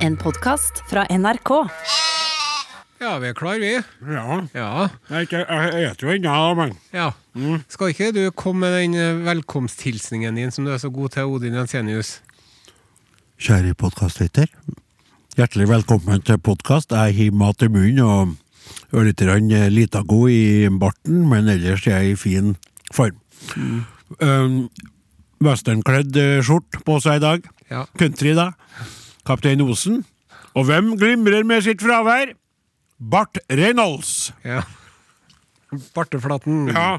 En podkast fra NRK. Ja, vi er klar, vi. Ja. Ja. Jeg, ikke, jeg vet jo ennå, men ja. Skal ikke du komme med den eh, velkomsthilsningen din som du er så god til, Odin Jensenius? Kjære podkastlytter. Hjertelig velkommen til podkast. Jeg har mat i munnen og ørlite grann eh, lita god i barten, men ellers er jeg i fin form. Um, Westernkledd eh, skjort på seg i dag. Ja. Country, da. Kaptein Osen. Og hvem glimrer med sitt fravær? Bart Reynolds. Ja. Barteflaten. Ja.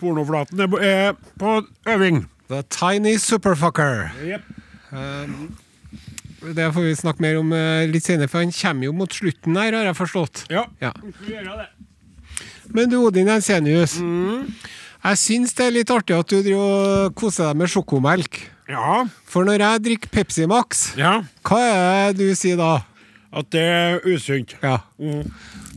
Pornoflaten er på- er på øving. The Tiny Superfucker. Eh. Det får vi snakke mer om eh, litt senere, for han kommer jo mot slutten her, har jeg forstått. Ja. Ja. Men du, Odin Jensenius. Mm. Jeg syns det er litt artig at du driver og koser deg med sjokomelk. Ja. For når jeg drikker Pepsi Max, ja. hva er det du sier da? At det er usunt. Ja. Mm.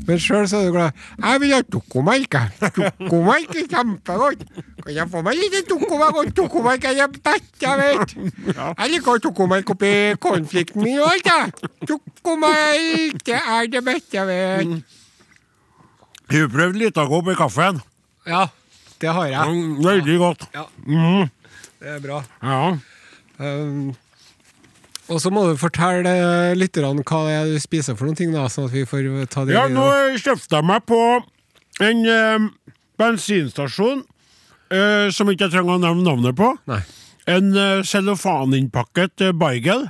Men sjøl så er du glad. Jeg vil ha dokomelk, jeg. Dokomelk er kjempegodt. Kan jeg få meg litt dokomelk? Dokomelk er det beste jeg vet. Jeg liker dokomelk oppi cornflakesen min og alt, jeg. Dokomelk, det er det beste jeg vet. Har du prøvd Litago i kaffen? Ja, det har jeg. Mm, Veldig godt. Ja. Det er bra. Ja. Mm. Um, og så må du fortelle eh, lytterne hva det er du spiser for noen ting, da, sånn at vi får ta det ja, videre. nå kjøpte jeg meg på en eh, bensinstasjon eh, som ikke jeg trenger å nevne navnet på. Nei. En eh, cellofaninnpakket eh, Beigel.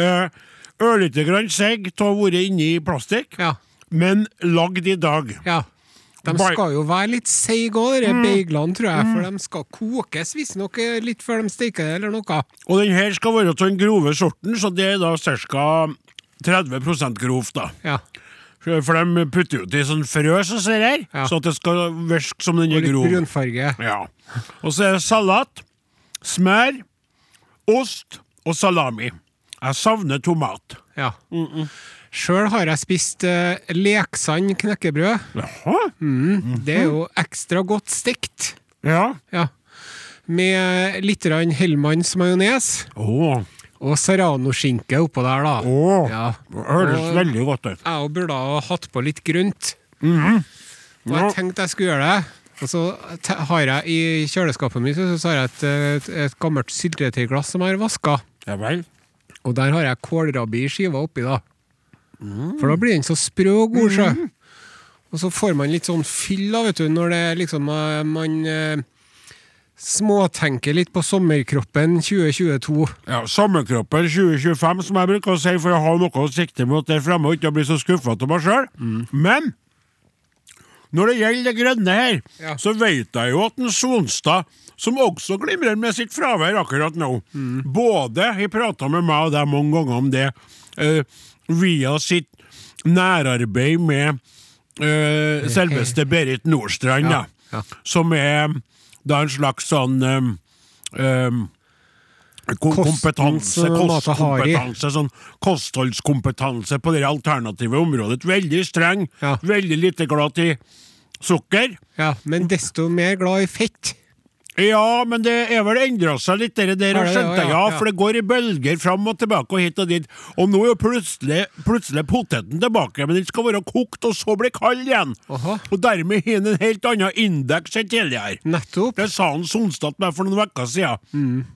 Eh, Ørlite grann segg til å ha vært inni plastikk, Ja. men lagd i dag. Ja. De Mm. Bar- skal jo være litt seige òg, de beiglene, tror jeg. For de skal kokes visstnok eh, litt før de steker det, eller noe. Og den her skal være av den grove sorten, så det er da ca. 30 grovt, da. Ja. For de putter jo til sånn frø som ser her, Ja. sånn at det skal virke som den Og er litt grov. brunfarge. Ja. Og så er det salat, smør, ost og salami. Jeg savner tomat. Ja. Sjøl Mm, har jeg spist eh, leksand knekkebrød. Jaha? Det er jo ekstra godt stekt. Ja. Ja. Med litt grann Hellmanns majones Åh, og serranoskinke oppå der, da. Åh. Ja. det høres Og- veldig godt ut. jeg og burde ha hatt på litt grønt. Og jeg tenkte jeg skulle gjøre det. Og så te- har jeg i kjøleskapet mitt så har jeg et, et, et gammelt syltetøyglass som jeg har vaska. Ja vel. Og der har jeg kålrabi i skiva oppi, da. For da blir den så sprø og god, sjø. Og så får man litt sånn fyll da, vet du, når det er liksom eh, Man eh, småtenker litt på sommerkroppen 2022. Ja, Sommerkroppen 2025, som jeg bruker å si for å ha noe å sikte mot der fremme og ikke bli så skuffa av meg sjøl. Men når det gjelder det grønne her, Ja. så vet jeg jo at en Sonstad, som også glimrer med sitt fravær akkurat nå Både har prata med meg og deg mange ganger om det eh, via sitt nærarbeid med eh, selveste Berit Nordstrand, Ja, da ja. som er da en slags sånn um, um, ko- Kostens- kompetanse, Mata Hari. kostkompetanse, sånn kostholdskompetanse på det alternative området. Veldig streng, Ja. veldig lite glad i sukker. Ja, men desto mer glad i fett. Ja, men det er vel endra seg litt, det der, Har og det det, skjønte jeg. Ja, ja. for det går i bølger fram og tilbake og hit og dit. Og nå er jo plutselig, plutselig poteten tilbake, men den skal være kokt og så bli kald igjen. Aha. Og dermed har den en helt annen indeks enn tidligere. Nettopp. Det sa han Sonstad til meg for noen uker siden. Mm.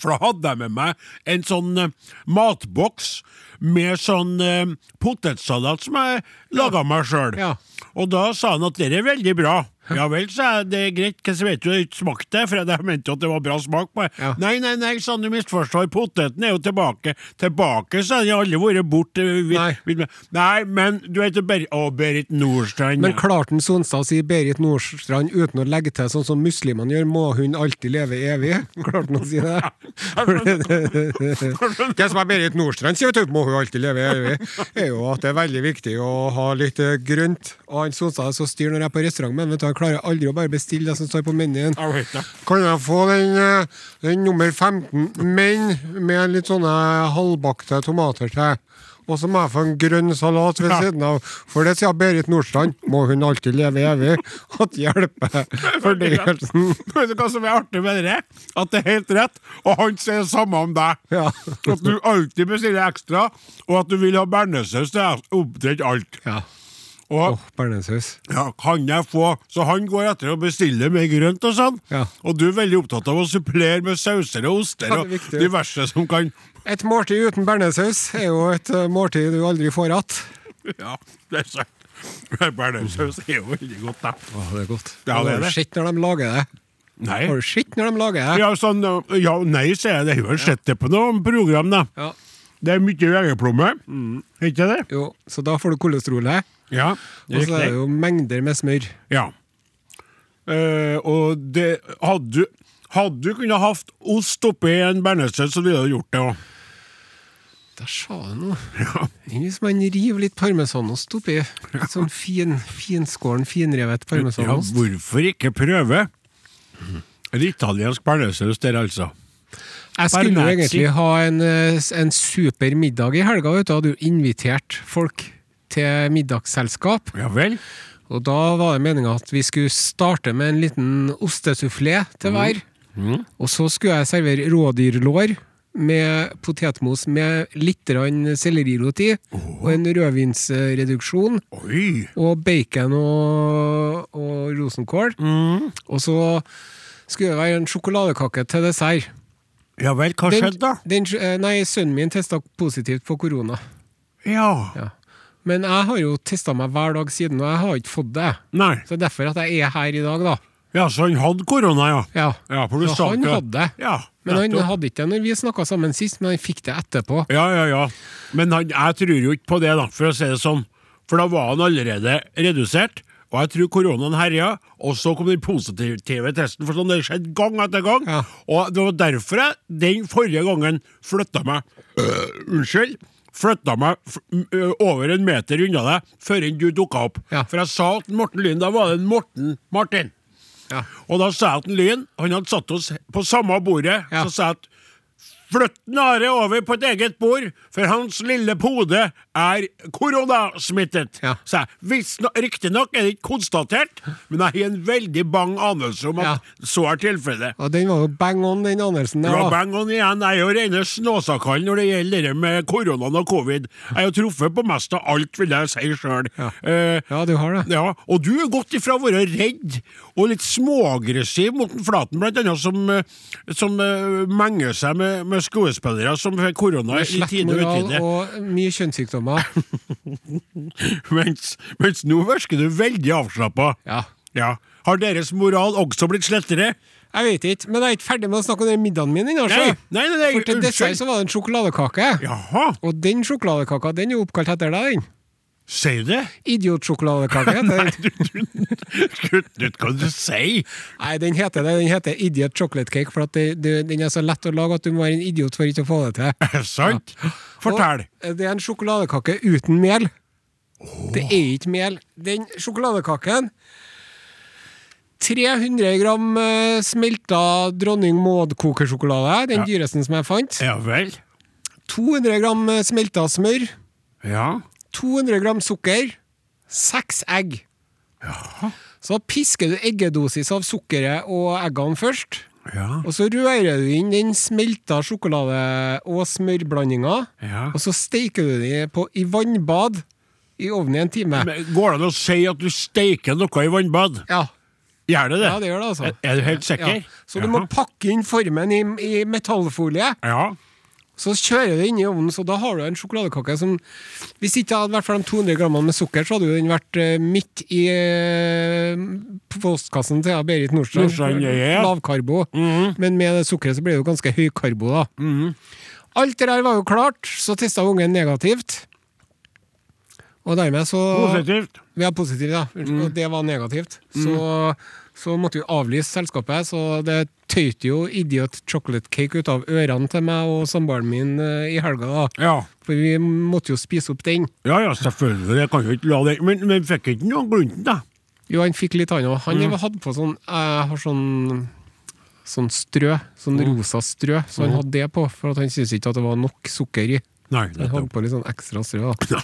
For da hadde jeg med meg en sånn eh, matboks med sånn eh, potetsalat som jeg laga meg sjøl. Ja. Og da sa han at det er veldig bra. Ja vel, sa jeg, det er greit, hva så vet du, det ikke smakte det, for jeg mente jo at det var bra smak på det. Ja. Nei, nei, nei, sa han, du misforstår, poteten er jo tilbake. Tilbake, sa han, jeg har aldri vært borte. eh, Nei. nei, men du heter Berit, å, Berit Nordstrand. Men ja. klarte han Sonstad å si Berit Nordstrand uten å legge til sånn som muslimene gjør, må hun alltid leve evig? Klarte han å si det? Det som er Berit Nordstrand sier, vet du, må hun alltid leve evig, er jo at det er veldig viktig å ha litt eh, grønt. Og han Sonstad er så styr når jeg er på restaurant, men vet du, han klarer aldri å bare bestille det som står på menyen. Jeg vet det. Kan jeg få den, eh, den nummer 15, men med litt sånne halvbakte tomater til? Og så må jeg få en grønn salat ved Ja. siden av. For det sier Berit Nordstrand, må hun alltid leve evig, at hjelper fordøyelsen. Vet du hva som er artig med det? At det er helt rett, og han sier det samme om deg. Ja. At du alltid bestiller ekstra, og at du vil ha bearnéssaus til omtrent alt. Ja. Og Åh, bearnéssaus. ja, kan jeg få Så han går etter å bestille mer grønt og sånn. Ja. Og du er veldig opptatt av å supplere med sauser og oster Ja, og det er viktig. diverse som kan Et måltid uten bearnéssaus er jo et eh, måltid du aldri får igjen. Ja, det er sant. Bearnéssaus er jo veldig godt, da. Åh, det er godt. Ja, det er Har du det. sett når de lager det? Nei. Har du sett når de lager det? Ja, sånn, ja, nei, sier jeg. Det er jo en sjette på noen program, da. Ja. Det er mye vegeplomme, ikke det? Jo, så da får du kolesterolet. Mm. Ja. Og så er riktig. det jo mengder med smør. Ja. Eh, og det Hadde du hadde du kunnet hatt ost oppi en bearnéssaus, så ville du gjort det òg. Der sa du noe. Hvis man river litt parmesanost oppi, litt sånn fin, finskåren, finrevet Ja, parmesanost hvorfor ikke prøve? En italiensk bearnéssaus der, altså. Jeg skulle jo Bernazzi. egentlig ha en, eh, en super middag i helga, vet du. Hadde jo invitert folk til middagsselskap. Ja vel? Og da var det meninga at vi skulle starte med en liten ostesufflé til hver. Og så skulle jeg servere rådyrlår med potetmos med litt grann sellerirot i, og en rødvinsreduksjon. Oi! og bacon og, og rosenkål. Mm. Og så skulle det være en sjokoladekake til dessert. Ja vel, hva Den- skjedde da? Den, eh, nei, sønnen min testa positivt på korona. Ja. Ja. Men jeg har jo testa meg hver dag siden, og jeg har ikke fått det. Nei. Så det er derfor at jeg er her i dag, da. Ja, så han hadde korona, ja. Ja. Ja, for du Så sa han ikke- hadde det. Ja, Men han nettopp. hadde ikke det når vi snakka sammen sist, men han fikk det etterpå. Ja, ja, ja. Men han, jeg tror jo ikke på det, da, for å si det sånn. For da var han allerede redusert, og jeg tror koronaen herja, og så kom den positive testen, for sånn det skjedde gang etter gang. Ja. Og det var derfor jeg den forrige gangen flytta meg øh, Unnskyld. Flytta meg f øh, over en meter unna deg før enn du dukka opp. Ja. For jeg sa til Morten Lyn, da var det en Morten Martin. Ja. Og da sa jeg til Lyn, han hadde satt oss på samme bordet, Ja. så sa jeg at Flytt Nare over på et eget bord, for hans lille pode er koronasmittet. Ja. Så jeg, Riktignok er det ikke konstatert, men jeg har en veldig bang anelse om at Ja. så er tilfellet. Og den var jo bang on, den anelsen der. Ja, da. bang on igjen. Jeg er jo rene snåsakallen når det gjelder det med koronaen og covid. Jeg har truffet på mest av alt, vil jeg si Eh, sjøl. Ja. Ja, du har det. Ja, og du er gått ifra å være redd og litt småaggressiv mot den Flaten, blant annet som, eh, som eh, menger seg med, med skuespillere som fikk korona i Slett tide og moral utide. og mye kjønnssykdommer. Mens, mens nå virker du veldig avslappa. Ja. Ja. Har deres moral også blitt slettere? Jeg vet ikke, men jeg er ikke ferdig med å snakke om den middagen min ennå. Nei, så. nei, nei, nei, Altså, For til dessert unnskyld. så var det en sjokoladekake. Jaha, Og den sjokoladekaka den er jo oppkalt etter deg, den. si det. Idiotsjokoladekake heter den. Du- du- Kutt ut hva du sier. Nei, den heter det. Den heter Idiot Chocolate Cake, for at det, det, den er så lett å lage at du må være en idiot for ikke å få det til. Er det sant? Fortell. Og, eh, det er en sjokoladekake uten mel. Det er ikke mel. Den sjokoladekaken 300 gram eh, smelta dronning Maud-kokesjokolade, den dyreste som jeg fant. Ja vel. 200 gram eh, smelta smør, Ja. 200 gram sukker, seks egg. Så pisker du eggedosis av sukkeret og eggene først. Ja. Og så rører du inn den smelta sjokolade- og smørblandinga. Ja. Og så steiker du den på, i vannbad i ovnen i en time. Men Går det an å si at du steiker noe i vannbad? Ja. Gjør det det? ja, det gjør det, altså. Er, er du helt sikker? Ja. Så du må pakke inn formen i, i metallfolie. Ja. Så kjører du inn i ovnen, så da har du en sjokoladekake som Hvis ikke det hadde vært for de 200 grammene med sukker, så hadde jo den vært eh, midt i eh, postkassen til Berit Nordstrand. Nordstrand, ja, ja. Mhm. Lavkarbo. Men med det sukkeret så blir det jo ganske høykarbo, da. Alt det der var jo klart, så testa ungen negativt. Og dermed så Positivt. Vi er positive, ja. Unnskyld, Og det var negativt. Så, så måtte vi avlyse selskapet, så det tøyte jo idiot chocolate cake ut av ørene til meg og samboeren min eh, i helga, da. Ja. For vi måtte jo spise opp den. Ja, ja, selvfølgelig. Jeg kan jo ikke la det Men, men fikk ikke noe av grunnen, da. Jo, han fikk litt annet. Han hadde på sånn Jeg har sånn Sånn strø, sånn rosa strø, så han hadde det på, for at han syntes ikke at det var nok sukker i. Nei, Han hadde nettopp. på litt sånn ekstra strø, da.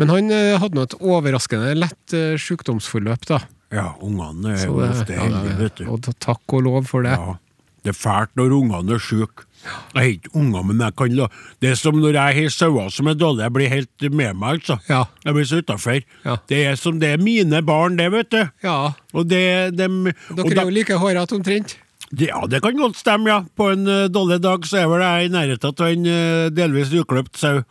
Men han eh, hadde nå et overraskende lett eh, sykdomsforløp, da. Ja, ungene er Så jo det- ofte ja, heldige, det- vet du. Og ta- takk og lov for det. Ja. Det er fælt når ungene er syke. Jeg har ikke unger, men jeg kan la Det er som når jeg har sauer som er dårlige. Jeg blir helt med meg, altså. Ja. Jeg blir så utafor. Ja. Det er som det er mine barn, det, vet du. Ja. Og det dem, og Dere da- er jo like hårete omtrent. det- Ja, det kan godt stemme, ja. På en eh, dårlig dag så er vel jeg i nærheten av en eh, delvis ukløpt sau.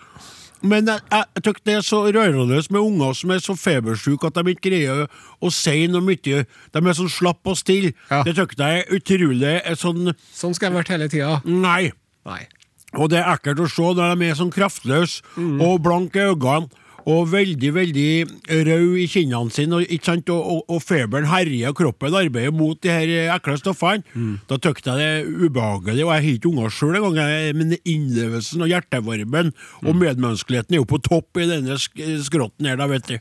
Men jeg, jeg, jeg tykker det er så rørende med unger som er så febersyke at de ikke greier å, å si noe mye. De er sånn slapp og stille. Ja. Det tykker jeg er utrolig eh, sånn Sånn skal jeg vært hele tida. Nei. Nei. Og det er ekkelt å se når de er sånn kraftløse og blanke i øynene. Og veldig veldig rød i kinnene sine, og, ikke sant? og, og, og feberen herjer, og kroppen arbeider mot de her eh, ekle stoffene. Da tykte jeg det er ubehagelig, og jeg har ikke unger sjøl engang. jeg- Men innlevelsen og hjertevarmen og medmenneskeligheten er jo på topp i denne sk skrotten her, da, vet du.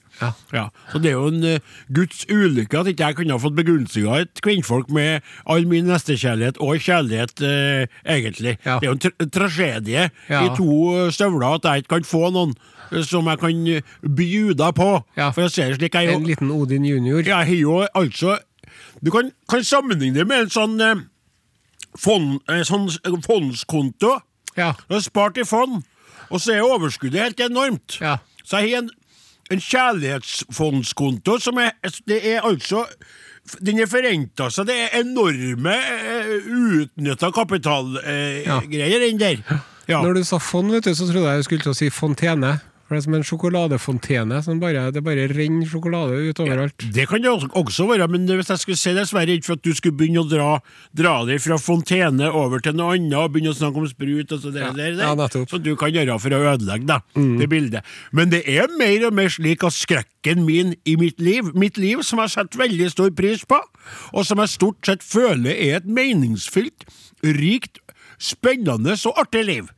Ja. Så det er jo en eh, guds ulykke at ikke jeg kunne ha fått begrunnsninga et kvinnfolk med all min nestekjærlighet og kjærlighet, eh, egentlig. Ja. Det er jo en tra en tragedie Ja. i to eh, støvler at jeg ikke kan få noen eh, som jeg kan eh, bjuda på. Ja. For jeg ser det slik jeg En jo liten Odin junior. Jeg har jo altså Du kan, kan sammenligne det med en sånn eh, fond, eh, sånn eh, fondskonto. Ja. Du har spart i fond, og så er overskuddet helt enormt. Ja. Så jeg har en, en kjærlighetsfondskonto som er Det er altså Den er forrenta seg. Det er enorme uh, uutnytta Ja. kapitalgreier, uh, den der. Ja. Når du sa fond, vet du, så trodde jeg du skulle til å si fontene. For det er som en sjokoladefontene. Som bare, det bare renner sjokolade ut overalt. Det kan det også- også være, men hvis jeg skulle si det, så var jeg redd for at du skulle begynne å dra, dra deg fra fontene over til noe annet og begynne å snakke om sprut og så der, der, der. Ja, nettopp. Mm. Så du kan gjøre for å ødelegge da, det bildet. Men det er mer og mer slik at skrekken min i mitt liv, mitt liv som jeg setter veldig stor pris på, og som jeg stort sett føler er et meningsfylt, rikt, spennende og artig liv,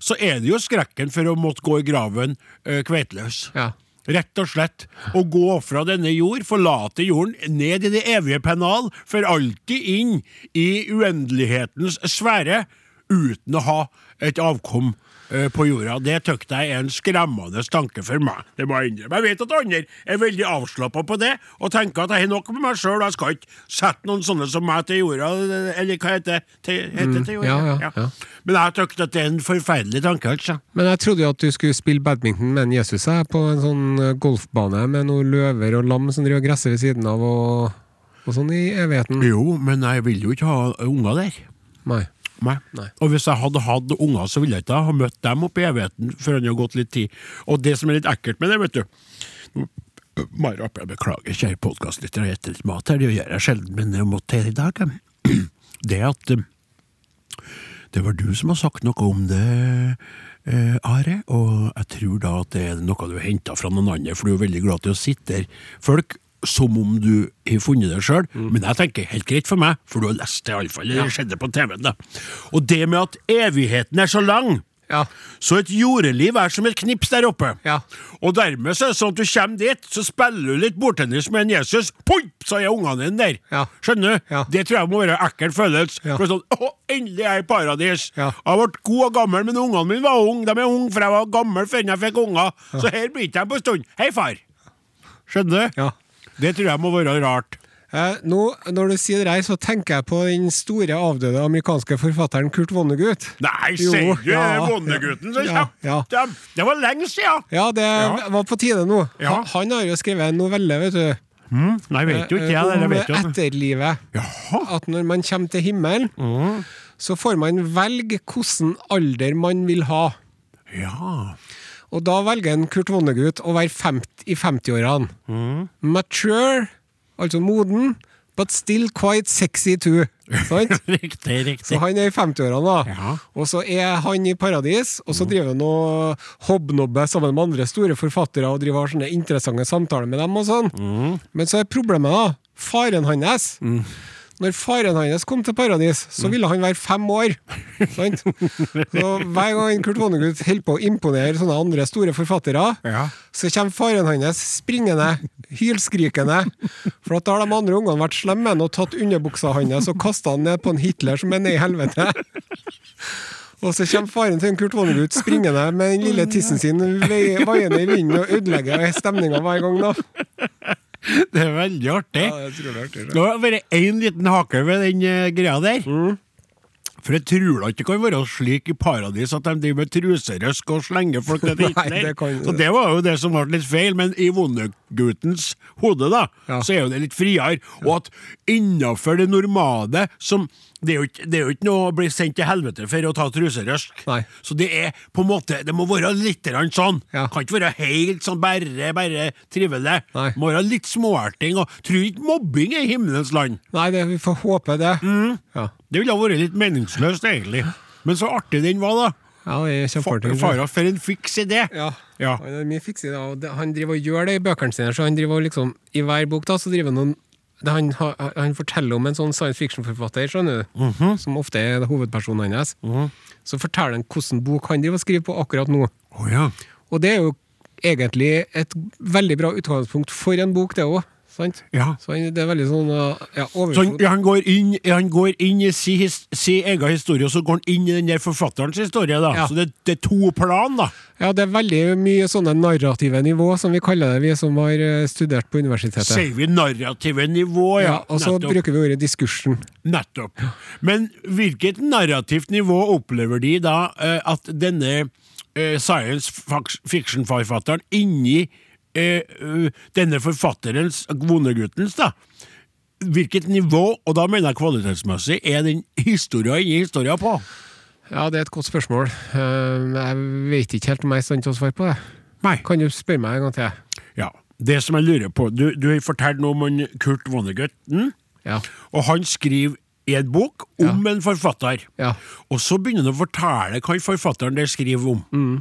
så er det jo skrekken for å måtte gå i graven eh, kveitløs. Ja. Rett og slett. Å gå fra denne jord, forlate jorden, ned i det evige pennal, for alltid inn i uendelighetens sfære, uten å ha et avkom eh, på jorda. Det tykte jeg er en skremmende tanke for meg. Det må jeg innrømme. Jeg vet at andre er veldig avslappa på det, og tenker at jeg har nok med meg sjøl, jeg skal ikke sette noen sånne som meg til jorda, eller hva heter det? Til, heter det til jorda? Mm, ja, ja, ja. Men jeg tykte at det er en forferdelig tanke, altså. Men jeg trodde jo at du skulle spille badminton med en Jesus jeg, på en sånn eh, golfbane med noen løver og lam som driver og gresser ved siden av, og, og sånn i evigheten. Jo, men jeg vil jo ikke ha unger der. Nei. Nei. Og hvis jeg hadde hatt unger, så ville jeg ikke ha møtt dem oppe i evigheten før det har gått litt tid. Og det som er litt ekkelt med det, vet du Mari Appel, beklager, kjære podkastlytter, jeg spiser litt mat her, det gjør jeg sjelden, men jeg måtte her i dag. Det at eh, det var du som har sagt noe om det, eh, Are, og jeg tror da at det er noe du har henta fra noen andre, for du er veldig glad til å sitte der folk som om du har funnet det sjøl, men jeg tenker helt greit for meg, for du har lest det iallfall, det skjedde på TV-en, da. Og det med at evigheten er så lang, Ja. så et jordeliv er som et knips der oppe. Ja. Og dermed så er det sånn at du kommer dit, så spiller du litt bordtennis med en Jesus, poip, så er ungene dine der. Ja. Skjønner du? Ja. Det tror jeg må være en ekkel følelse. Ja. For det er sånn, å, endelig er jeg i paradis. Ja. Jeg ble god og gammel, men ungene mine var unge. De er unge, for jeg var gammel før jeg fikk unger. Så her blir ikke jeg på en stund. Hei, far. Skjønner du? Ja. Det tror jeg må være rart. Eh, nå, når du sier det her, så tenker jeg på den store avdøde amerikanske forfatteren Kurt Vonnegut. Nei, Jo, sier du det? ja, Bondegutten som ja, ja. kjempet dem. Det var lenge siden. Ja, det Ja. var på tide nå. Ja. Han, han har jo skrevet en novelle, vet du. Nei, vet jo ikke jeg. eh, eller om vet jo. etterlivet. Jaha. Mm. At når man kommer til himmelen, så får man velge hvilken alder man vil ha. Ja. Og da velger en Kurt Vonnegut å være 50, i 50-årene. Mm. Mature, altså moden, but still quite sexy too. Sant? Riktig, riktig. Så han er i 50-årene, da. Ja. Mm. Og så er han i paradis, og så driver han og hobnobber sammen med andre store forfattere og driver og har sånne Mm. interessante samtaler med dem og sånn. Men så er problemet, da. Faren hans Når faren hans kom til paradis, så ville han være fem år. Sant? Så hver gang Kurt Vonnegut holder på å imponere sånne andre store forfattere, Ja. så kommer faren hans springende, hylskrikende. For at da har de andre ungene vært slemme og tatt underbuksa hans og kasta han ned på en Hitler som er nede i helvete. Og så kommer faren til en Kurt Vonnegut springende med den lille tissen sin vei- vaiende i vinden og ødelegger stemninga hver gang, da. Det er veldig artig. det tror jeg er artig, det. Det har vært én liten hake ved den eh, greia der. Mm. For jeg tror da ikke det kan være slik i paradis at de driver med truserøsk og slenger folk ned dit Nei, det kan- Så det var jo det som ble litt feil, men i Vonneguttens hode, da, Ja. så er jo det litt friere. Og at innafor det normale som det er, jo ikke, det er jo ikke noe å bli sendt til helvete for å ta truserøsk. Nei. Så det er på en måte Det må være litt grann sånn. Ja. Kan ikke være helt sånn bare, bare trivelig. Nei. Må være litt småerting. Og tror ikke mobbing er himmelens land. Nei, det, vi får håpe det. Ja. Det ville ha vært litt meningsløst, egentlig. Men så artig den var, da. Ja, det er kjempeartig. Fara for en fiks idé! Ja. Ja. Han er mye fiksig, da. Og det, han driver og gjør det i bøkene sine. Så han driver og liksom, I hver bok da, så driver han noen det han, har- han forteller om en sånn science fiction-forfatter skjønner du, Mhm. som ofte er hovedpersonen hans. Så forteller han hvilken bok han driver og skriver på akkurat nå. Å ja. Og det er jo egentlig et veldig bra utgangspunkt for en bok, det òg. Ja. Så han, det er veldig sånn uh, ja, Så han, overflod. ja, han, går inn, han går inn i si, his, si egen historie, og så går han inn i den der forfatterens historie. da. Ja. Så det, det er to plan, da. Ja, det er veldig mye sånne narrative nivå, som vi kaller det, vi som har eh, studert på universitetet. Sier vi narrative nivå, ja. Ja, og så Nettopp. bruker vi ordet diskursen. Nettopp. Men hvilket narrativt nivå opplever de da eh, at denne eh, science fac- fiction-forfatteren inni eh, eh, denne forfatterens, vondeguttens, da Hvilket nivå, og da mener jeg kvalitetsmessig, er den historia inni historia på? Ja, det er et godt spørsmål. Ehm, Jeg vet ikke helt om jeg er i stand til å svare på det. Nei. Kan du spørre meg en gang til? Ja. Det som jeg lurer på Du, du har fortalt noe om han Kurt hm? Vonnegutten, Ja. og han skriver i en bok om en forfatter. Ja. Og så begynner han å fortelle hva forfatteren der skriver om.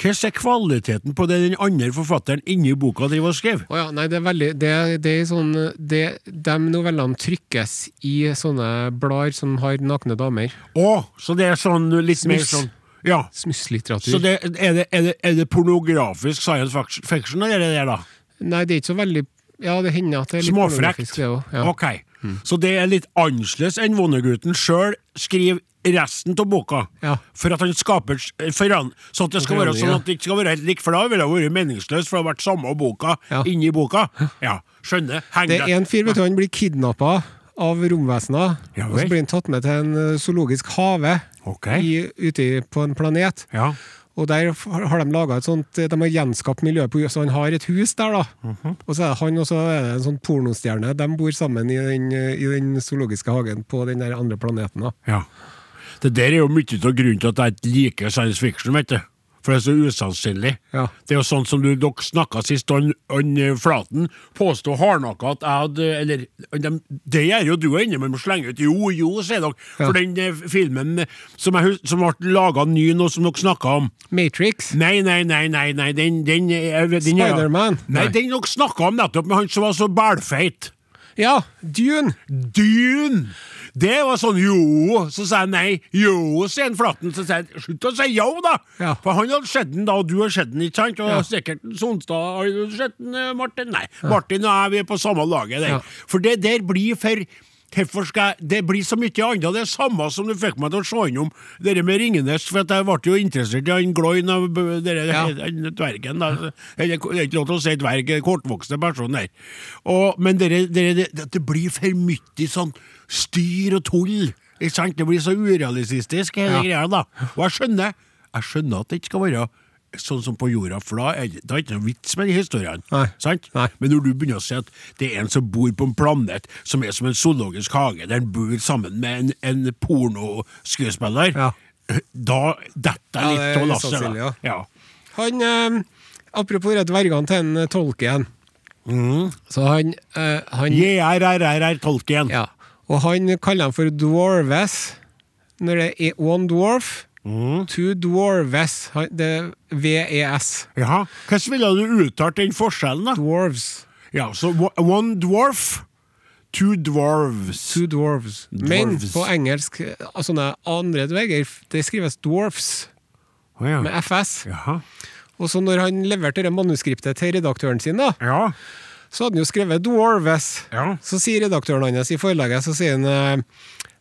Hvordan er kvaliteten på det den andre forfatteren inni boka driver og skriver? Å ja, nei, det er veldig det, det er sånn, det, De novellene trykkes i sånne blader som har nakne damer. Å, så det er sånn litt mer Smuss. sånn Ja. Så Smusslitteratur. det, er, det, er, det, er det pornografisk science fac- fiction, eller er det det, da? Nei, det er ikke så veldig Ja, det hender at det er litt Småfrekt. pornografisk, Det også, ja. Ok. Så det er litt annerledes enn Vondegutten sjøl skriver resten av boka. Ja. For at han skaper s- foran, sånn at det skal være Forandring, sånn at det ikke skal være helt likt, for da ville det vært meningsløst, for det har vært samme boka Ja. inni boka. Ja, skjønner. Det Henger er en fyr vet du, han blir kidnappa av romvesener. Ja og så vel. blir han tatt med til en eh, zoologisk hage Ok. i, ute i- på en planet. Ja. Og der f- har de laget et sånt De har gjenskapt miljøet på Så han har et hus der, da. Og så er det han og så er det en sånn pornostjerne. De bor sammen i den, i den zoologiske hagen på den der andre planeten. da ja. Det der er jo mye av grunnen til at jeg ikke liker science fiction, vet du. For det er så usannsynlig. Ja. Det er jo sånn som du, dere snakka sist, han, han eh, Flaten påsto hardnakka at jeg hadde Eller de, det gjør jo du ennå, men må slenge ut jo, jo, sier dere. For den eh, filmen som, jeg, hus- som ble laga ny nå, som dere snakka om Matrix. Nei, nei, nei, nei, nei den, den, eh, den Spider-Man. Nei, Nei. den dere snakka om nettopp, med han som var så bælfeit. Ja! Dune! Dyn! Det var sånn jo, så sa jeg nei. Jo, sier han Flaten. Så sa jeg slutt å si jo, da! Ja. For han hadde sett den da, og du har sett den, ikke sant? Og sikkert en Sonstad har du sett den, eh, Martin? Nei. Martin og jeg vi er på samme laget der. Ja. For det der blir for Hvorfor skal jeg Det blir så mye annet. Det er samme som du fikk meg til å se innom det der med Ringenes, for at jeg ble jo interessert i han Gloin av b- dere- Ja. den dvergen, da. Eller, det er ikke lov til å si dverg, det er kortvokste person der. Og, men dere, dere, det, det- det blir for mye sånn styr og tull. Ikke sant? Det blir så urealistisk, hele greia, da. Og jeg skjønner, jeg skjønner at det ikke skal være sånn som på jorda, for da er det da er det ikke noe vits med de historiene. Nei. Sant? Nei. Men når du begynner å si at det er en som bor på en planet som er som en zoologisk hage, der han bor sammen med en, en pornoskuespiller, Ja. da Ja, detter det jeg litt er av lasset. da. usannsynlig, ja. Ja. Han eh, Apropos rett vergene til en tolk igjen. Så han, eh, han JRRR Tolkien. Ja. Og han kaller dem for dwarves. Når det er one dwarf, two dwarves. Han- Det er E VES. Jaha. Hvordan ville du uttalt den forskjellen, da? Dwarves. Ja, så wa- One dwarf, Two dwarves. Two dwarves. Men Dwarves. på engelsk, eh, sånne andre dverger, det skrives dwarfs Å, ja. med FS. Jaha. Og så når han leverte det manuskriptet til redaktøren sin, da, Ja. så hadde han jo skrevet dwarves. Ja. Så sier redaktøren hans i forlaget, så sier han eh,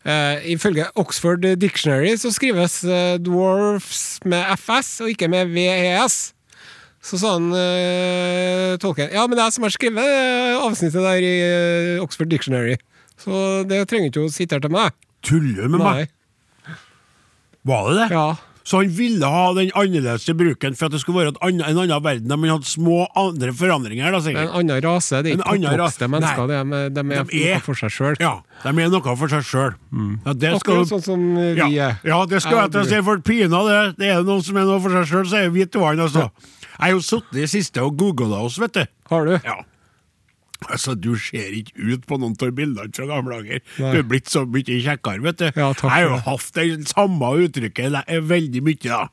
eh, ifølge Oxford Dictionary så skrives eh, dwarfs med FS og ikke med VES. Så sa han eh, tolken Ja, men det er jeg som har skrevet eh, avsnittet der i eh, Oxford Dictionary. Så det trenger ikke å sitere til meg. Tuller du med Nei. meg? Var det det? Ja. Så han ville ha den annerledes bruken for at det skulle være et annet- en annen verden der man hadde små andre forandringer. da, En sikkert. annen rase. Det er En ikke annen oppvokste rase. mennesker. De Nei. er, de er, De er- noe for seg sjøl. Ja, De er noe for seg sjøl. Ja, det skal Akkurat sånn som eh, vi ja, er. ja, det skal Jeg jeg til å og si, du. for pinadø, det er noen som er noe for seg sjøl, så er vi to andre, altså. Jeg har jo sittet i det siste og googla oss, vet du. Har du? Ja. Altså, Du ser ikke ut på noen av bildene fra gamle dager. Nei. Du er blitt så mye kjekkere, vet du. Ja, takk jeg har for jo det. hatt det samme uttrykket le- veldig mye, da.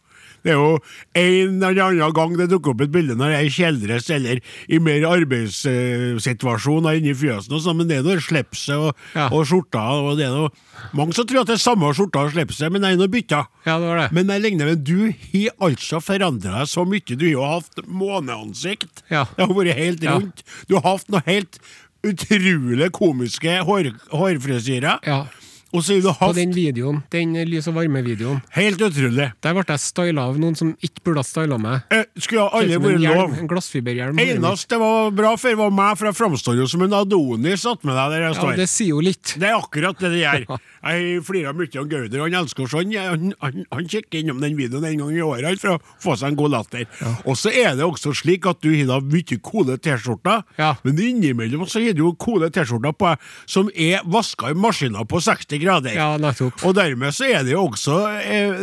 Det er jo en eller annen gang det dukker opp et bilde når jeg kjeldres eller i mer arbeidssituasjoner inni fjøsen, og sånn, men det er noe slipset og, Ja. og skjorta og det er noe Mange som tror at det er samme skjorta og slipset, men jeg er nå bytta. Ja, det var det. Men jeg regner med du har altså forandra deg så mye. Du har jo hatt måneansikt. Ja. Det har vært helt Ja. rundt. Du har hatt noe helt utrolig komiske hår, hårfrisyrer. Ja. Og så har du På hatt den videoen, den lys- og varme-videoen, helt utrolig. der ble jeg styla av noen som ikke burde ha styla meg. Eh, skulle ha Ser ut alle som en vært hjelm, lov. En glassfiberhjelm. Eneste det var bra for, var meg, for jeg framstår jo som en Adonis attmed deg der jeg Ja, står. det sier jo litt. Det er akkurat det det gjør. Jeg flirer mye av Gauder. Han elsker sånn. Han, han, han kikker innom den videoen en gang i året han, for å få seg en god latter. Og så er det også slik at du har da mye coole T-skjorter, Ja. men innimellom så har du jo coole T-skjorter på deg som er vaska i maskiner på 60 grader. Ja, nettopp. Og dermed så er det jo også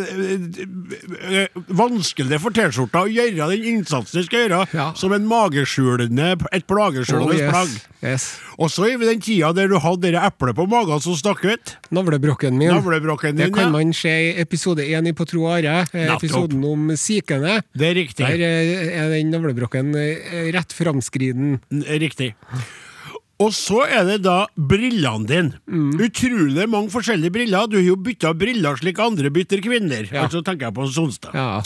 eh, eh, vanskelig for T-skjorta å gjøre den innsatsen de skal gjøre, Ja. som en mageskjulende, et Oh, plageskjulende plagg. yes. yes. Og så er vi den tida der du hadde det eplet på magen som stakk ut. Navlebrokken min. Navlebrokken Det din, kan ja. man se i episode én i På tro og are. eh, Nettopp. Episoden om sikene. Det er riktig. Der eh, er den navlebrokken eh, rett framskriden. N- Riktig. Og så er det da brillene dine. Mm. Utrolig mange forskjellige briller. Du har jo bytta briller slik andre bytter kvinner. Ja. Altså tenker jeg på en Sonstad. Ja.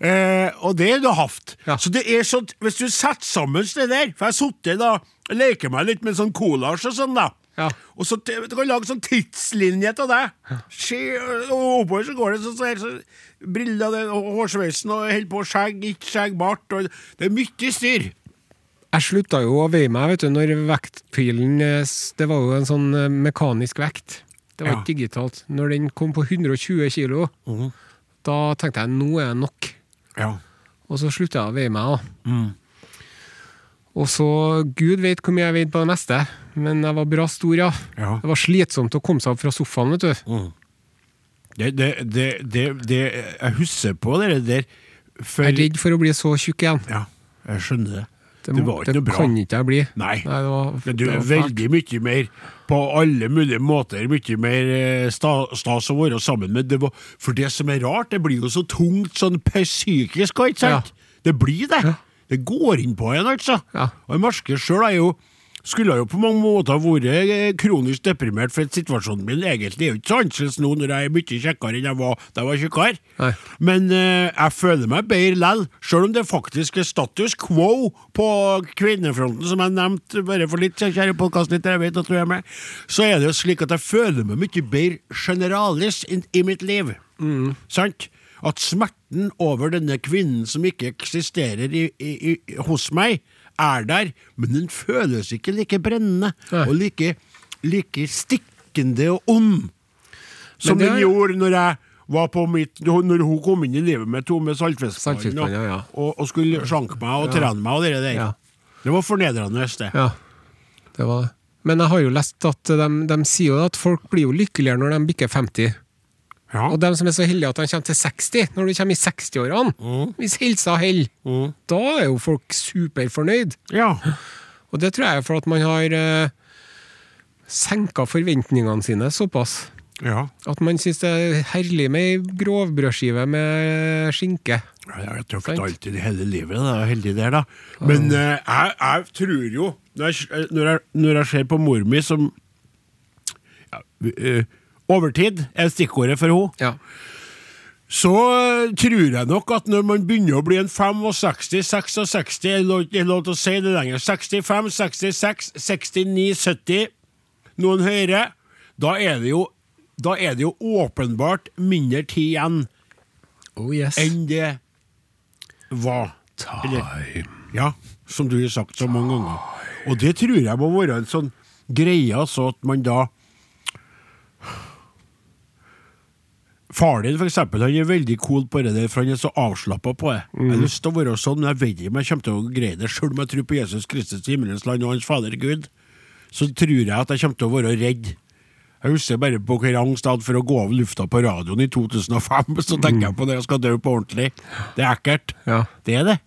Eh, og det er du hatt. Ja. Så det er sånn, hvis du setter sammen det der For jeg har sittet da og leker meg litt med sånn collage og sånn, da. Ja. Og så t- Du kan lage sånn tidslinje av det. Skje- Og oppover så går det sånn så her, så briller det, og hårsveisen og holder på skjegg, ikke skjegg, bart og Det er mye styr. Jeg slutta jo å veie meg, vet du, når vektpilen eh, s- Det var jo en sånn eh, mekanisk vekt. Det var Ja. ikke digitalt. Når den kom på 120 kilo, da tenkte jeg nå er det nok. Ja. Og så slutta jeg å veie meg, da. Mm. Og så Gud vet hvor mye jeg veide på det meste, men jeg var bra stor, ja. Ja. Det var slitsomt å komme seg opp fra sofaen, vet du. Det, det, det, det, det Jeg husker på det der. For, Jeg er redd for å bli så tjukk igjen. Ja, jeg skjønner det. Det, må- var ikke noe bra. kan ikke jeg bli. Nei. det var, Men du det er var fælt. veldig mye mer på alle mulige måter mye mer eh, sta, stas å være sammen med. Det var, for det som er rart, det blir jo så tungt sånn psykisk, også, ikke sant? Det blir det. Det går inn på en, altså. Ja. Og jeg merker sjøl, jeg er jo skulle jo på mange måter vært eh, kronisk deprimert, for situasjonen min egentlig er jo ikke så annerledes nå når jeg er mye kjekkere enn jeg var da jeg var tjukkere. Nei. Men eh, jeg føler meg bedre lell, sjøl om det faktisk er status quo på kvinnefronten, som jeg nevnte bare for litt, siden, kjære podkastlytter, jeg vet at du er med, så er det jo slik at jeg føler meg mye bedre generalis i, i mitt liv. Sant? At smerten over denne kvinnen som ikke eksisterer i, i, i, hos meg, er der, men den føles ikke like brennende Nei. og like, like stikkende og ond som det den er- gjorde når jeg var på mitt Når hun kom inn i livet mitt, hun med saltfiskpann Saltfiskpann, og, ja, ja. og, og skulle slanke meg og trene meg og det der. Ja. Det var fornedrende. det. Ja, det var det. Men jeg har jo lest at de, de sier jo at folk blir jo lykkeligere når de bikker 50. Ja. Og de som er så heldige at de kommer til 60, når du kommer i 60-årene, hvis helsa holder, da er jo folk superfornøyd. ja. Og det tror jeg er for at man har eh, senka forventningene sine såpass. ja. At man syns det er herlig med ei grovbrødskive med skinke. Ja, Jeg har tøft Sant? alltid i hele livet, da. Jeg er heldig der, da. eh, Men eh, jeg, jeg tror jo, når jeg, når jeg, når jeg ser på mor mi, som eh, Overtid er stikkordet for henne. Ja. Så eh, tror jeg nok at når man begynner å bli en 65, 66, jeg er lov- jeg er lov til å si det lenger, 65, 66, 69, 70, noen høyere, da er det jo, da er det jo åpenbart mindre tid igjen Oh yes. enn det var. Eller- Ja, som du har sagt så mange ganger. Og det tror jeg må være en sånn greie, altså at man da Far din for eksempel, han er veldig cool på det der, for han er så avslappa på det. Jeg har lyst til å være sånn, men jeg vet ikke om jeg kommer til å greie det sjøl om jeg tror på Jesus Kristus i himmelens land og hans Fader Gud. Så tror jeg at jeg kommer til å være redd. Jeg husker bare på Krangstad for å gå av lufta på radioen i 2005, så tenker jeg på det, jeg skal dø på ordentlig. Det er ekkelt. Ja. Det er det.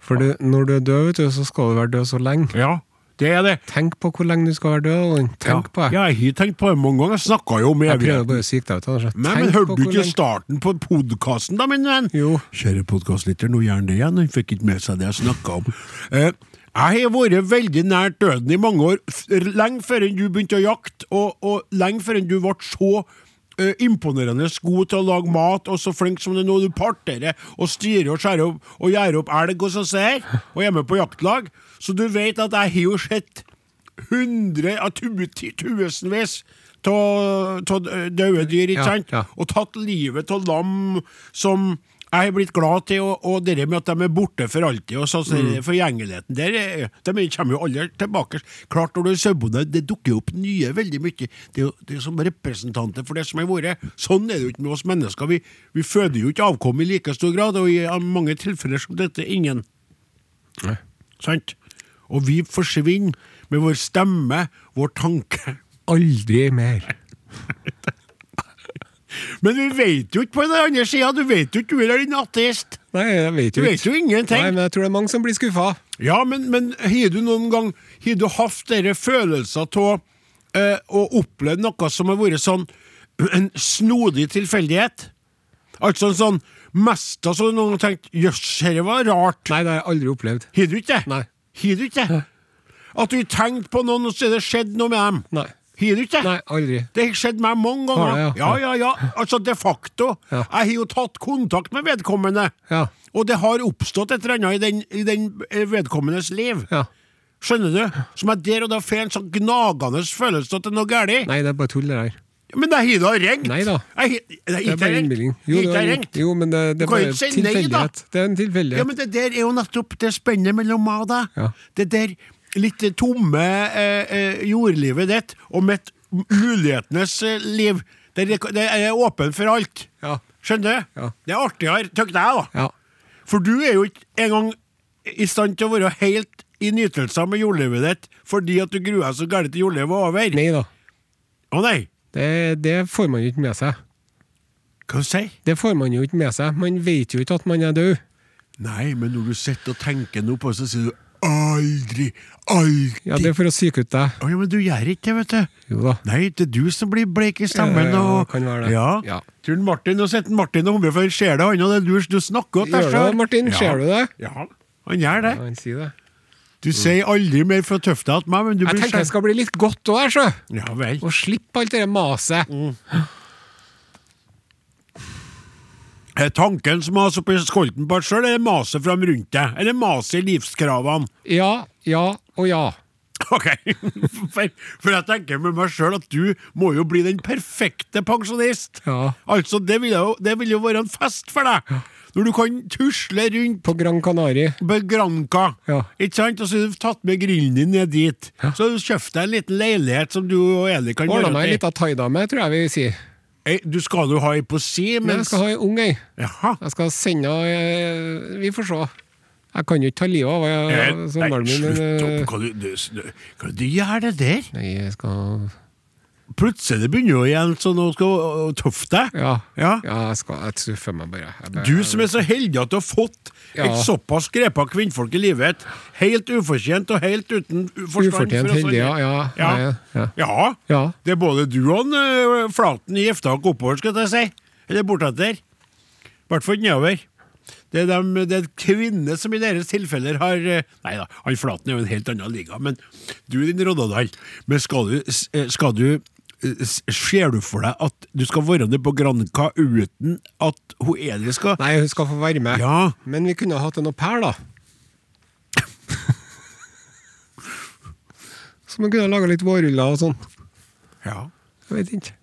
For du, når du er død, vet du, så skal du være død så lenge. Ja, det er det. Tenk på hvor lenge du skal være død. Allan. Tenk på det. Ja, jeg har tenkt på det mange ganger. Jeg snakka jo om Jeg evigheten. prøver bare å psyke deg ut. Anders. Nei, Tenk men på hørte du hvor ikke lenge- starten på podkasten, da, min venn? Jo. Kjære podkastlytter, nå gjør han det igjen. Han fikk ikke med seg det jeg snakka om. Eh, jeg har vært veldig nært døden i mange år, f- lenge før enn du begynte å jakte, og, og lenge før enn du ble så eh, imponerende god til å lage mat, og så flink som det er nå. Du parterer og styrer og skjærer opp og gjærer opp elg og sånn her, og er med på jaktlag. Så du vet at jeg har jo sett hundre av tu- ti- tusenvis av døde dyr, Ja, ikke sant? ja. Og tatt livet av lam som jeg er blitt glad til, og, og det med at de er borte for alltid, og sånn mm. forgjengeligheten der, er- de kommer jo aldri tilbake. Klart når du er sauebonde, det dukker jo opp nye veldig mye. Det er jo det er som representanter for det som har vært. Sånn er det jo ikke med oss mennesker. Vi, vi føder jo ikke avkom i like stor grad, og i mange tilfeller som dette, ingen. Sant? Og vi forsvinner med vår stemme, vår tanke. Aldri mer. Men vi vet jo ikke på den andre sida, du vet jo ikke, du er en ateist. Nei, jeg vet Du jo vet jo ingenting. Nei, men jeg tror det er mange som blir skuffa. Ja, men, men har du noen gang Har du hatt dere følelser av eh, å oppleve noe som har vært sånn en snodig tilfeldighet? Altså en sånn mest av sånn noen har tenkt Jøss, dette var rart. Nei, det har jeg aldri opplevd. Har du ikke det? Nei. Har du ikke det? At du har tenkt på noen, og så er det skjedd noe med dem? Nei. Har du ikke det? Nei, aldri. Det har skjedd meg mange Har ganger. det, ja. ja. ja, ja, Altså, de facto. Ja. Jeg har jo tatt kontakt med vedkommende. Ja. Og det har oppstått et eller annet i den, i den eh, vedkommendes liv. ja. Skjønner du? Som jeg der og da får en sånn gnagende følelse av at det er noe galt. Nei, det er bare tull, det der. Men jeg har da ringt! Nei da. Jeg, har- jeg, Det har er ikke bare ringt. innbilning. Jeg Jo, det har ikke er- ringt. jo, men det, det Du er kan bare ikke si nei, da. tilfeldighet. Det er en Ja, tilfeldighet. men det der er jo nettopp det spennet mellom meg og deg. Ja. Det der litt tomme eh, eh, jordlivet ditt og mitt m- mulighetenes eh, liv. Det er, det er åpen for alt. Ja. Skjønner du? Ja. Det er artigere, tykker jeg, da. Ja. For du er jo ikke engang i stand til å være helt i nytelser med jordlivet ditt fordi at du gruer deg så gærent til jordlivet er over. Nei da. Å nei! Det, det får man jo ikke med seg. Hva sier du? Det får man jo ikke med seg. Man vet jo ikke at man er død. Nei, men når du sitter og tenker noe på det, så sier du aldri, aldri Ja, det er for å psyke ut deg. Å ja, men du gjør ikke det, vet du. Jo da. Nei, det er du som blir bleik i stemmen. Ja, Og... kan være det. Ja. Ja. Tror du Martin, Nå sitter Martin og humrer, for han ser det, han og det er du, du snakker godt Gjør det, Martin. Ser du det? Ja, han gjør det. Ja, han sier det. Du sier aldri mer fra tøfta at meg, men du Jeg blir tenker jeg skal bli litt godt òg, sjø. Ja vel. Og slippe alt det der maset. Er Eh, tanken som har oppi skolten på deg sjøl, eller maset fram rundt deg? Eller maset i livskravene? Ja, ja og ja. Ok, for, for jeg tenker med meg sjøl at du må jo bli den perfekte pensjonist. Ja. Altså, det vil, jo, det vil jo være en fest for deg. Når du kan tusle rundt På Gran Canaria. på Granca. Ja. Ikke sant? Og så har du tatt med grillen din ned dit. Så har du kjøpt deg en liten leilighet som du og Eli kan Ordna meg være ei lita thaidame, tror jeg vi sier. Ei, Du skal jo ha ei på si, Men jeg mens skal ha ei ung ei. Jaha. Jeg skal sende henne eh, Vi får se. Jeg kan jo ikke ta livet av henne. Eh, Nei, sommeren sånn min, slutt men, opp. eh, Hva du, du, du, hva du gjør det der? Nei, jeg skal Plutselig begynner jo igjen sånn å skal å- å tøffe deg. Ja. Ja. jeg skal Jeg truffer meg bare. Jeg bare- Du som er så heldig at du har fått Ja. et såpass grepa kvinnfolk i livet. Helt ufortjent og helt uten u- forstand. for Ufortjent oss andre. heldig, ja, ja, ja. ja, ja. Ja. Ja. Det er både du og han, ø, Flaten i Giftak oppover, skal jeg si. Eller bortetter. I hvert fall nedover. Det er, dem, det er kvinner som i deres tilfeller har ø, Nei da, han Flaten er jo en helt annen liga, men du din Roddadal. Men skal du, s- eh, skal du eh, s- Ser du for deg at du skal være nede på Granca uten at hun Eli skal Nei, hun skal få være med. Ja. Men vi kunne hatt en au pair, da. Så man kunne laga litt vårruller og sånn. Ja. Jeg vet ikke.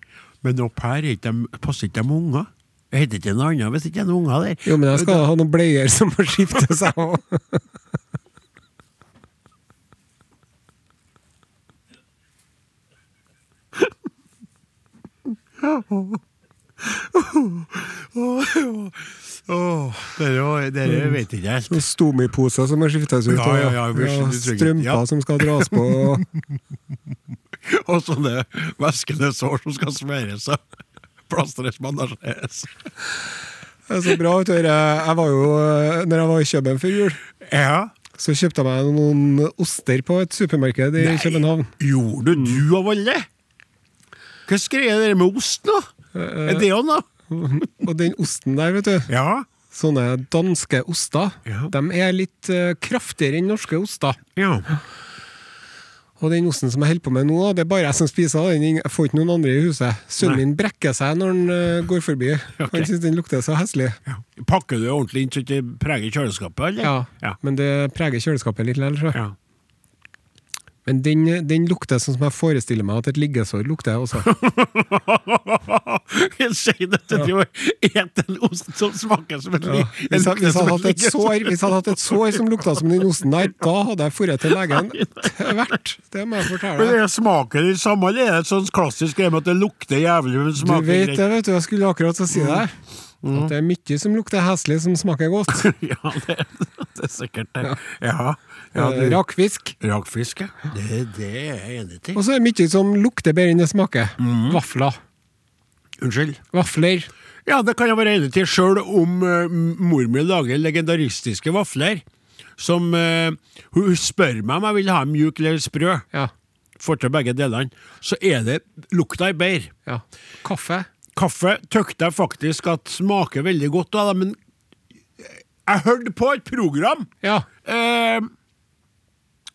Men au pair er ikke dem- passer ikke dem med unger. Det heter ikke noe annet hvis det ikke er noen unger der. Jo, men jeg skal ha noen bleier som må skifte seg òg. Åh, dere, var- dere Mm. vet ikke helt. Stomiposer Sånn som må skiftes ut. Ja, ja, ja, og- vi skjønner, og du trenger- strømper ja. som skal dras på. og- Og sånne væskende sår som skal smøres og plastres, bandasjeres. Det er så bra. vet du. Jeg jeg var jo, eh, når jeg var i København før jul, Ja. så kjøpte jeg meg noen oster på et supermarked i København. Gjorde Mm. du av alle? Hva skrev dere med osten, da? Er det han, da? Og den osten der, vet du. Ja. Sånne danske oster. Ja. De er litt eh, kraftigere enn norske oster. Ja. Og den osten som jeg holder på med nå, det er bare jeg som spiser den. Ingen- Jeg får ikke noen andre i huset. Sønnen Nei. min brekker seg når han eh, går forbi. Han syns den lukter så heslig. Pakker du ordentlig inn så det ikke preger kjøleskapet, eller? Ja. Ja. Men det preger kjøleskapet litt likevel, tror jeg. ja. Men den, den lukter sånn som jeg forestiller meg at et liggesår lukter også. Jeg sier det til ja. Et en ost som smaker som et Ja. lik. Hvis jeg hvis jeg hadde hatt et sår Hvis jeg hadde hatt et sår som lukta som den osten der, da hadde jeg dratt til legen. Tvert. Det må jeg fortelle Men deg. er smaken den samme, eller er det et sånn klassisk greie med at det lukter jævlig, Du men smaker vet det, greit? vet du. Jeg skulle akkurat så si det. her. Mm. At det er mye som lukter heslig, som smaker godt. Ja, det, det er sikkert det. Ja. ja Eh, du, Rakfisk. rakfisk, ja. Det, det er jeg enig i. Og så er det mye som lukter bedre enn det smaker. Mm. Vafler. Unnskyld. Vafler. Ja, det kan jeg være enig til, sjøl om uh, mor mi lager legendaristiske vafler. Som eh, Hun hun spør meg om jeg vil ha dem mjuke eller sprø. Ja. Får til begge delene. Så er det lukta er bedre. ja. Kaffe. Kaffe tøkte jeg faktisk at smaker veldig godt, da, men jeg hørte på et program Ja. eh,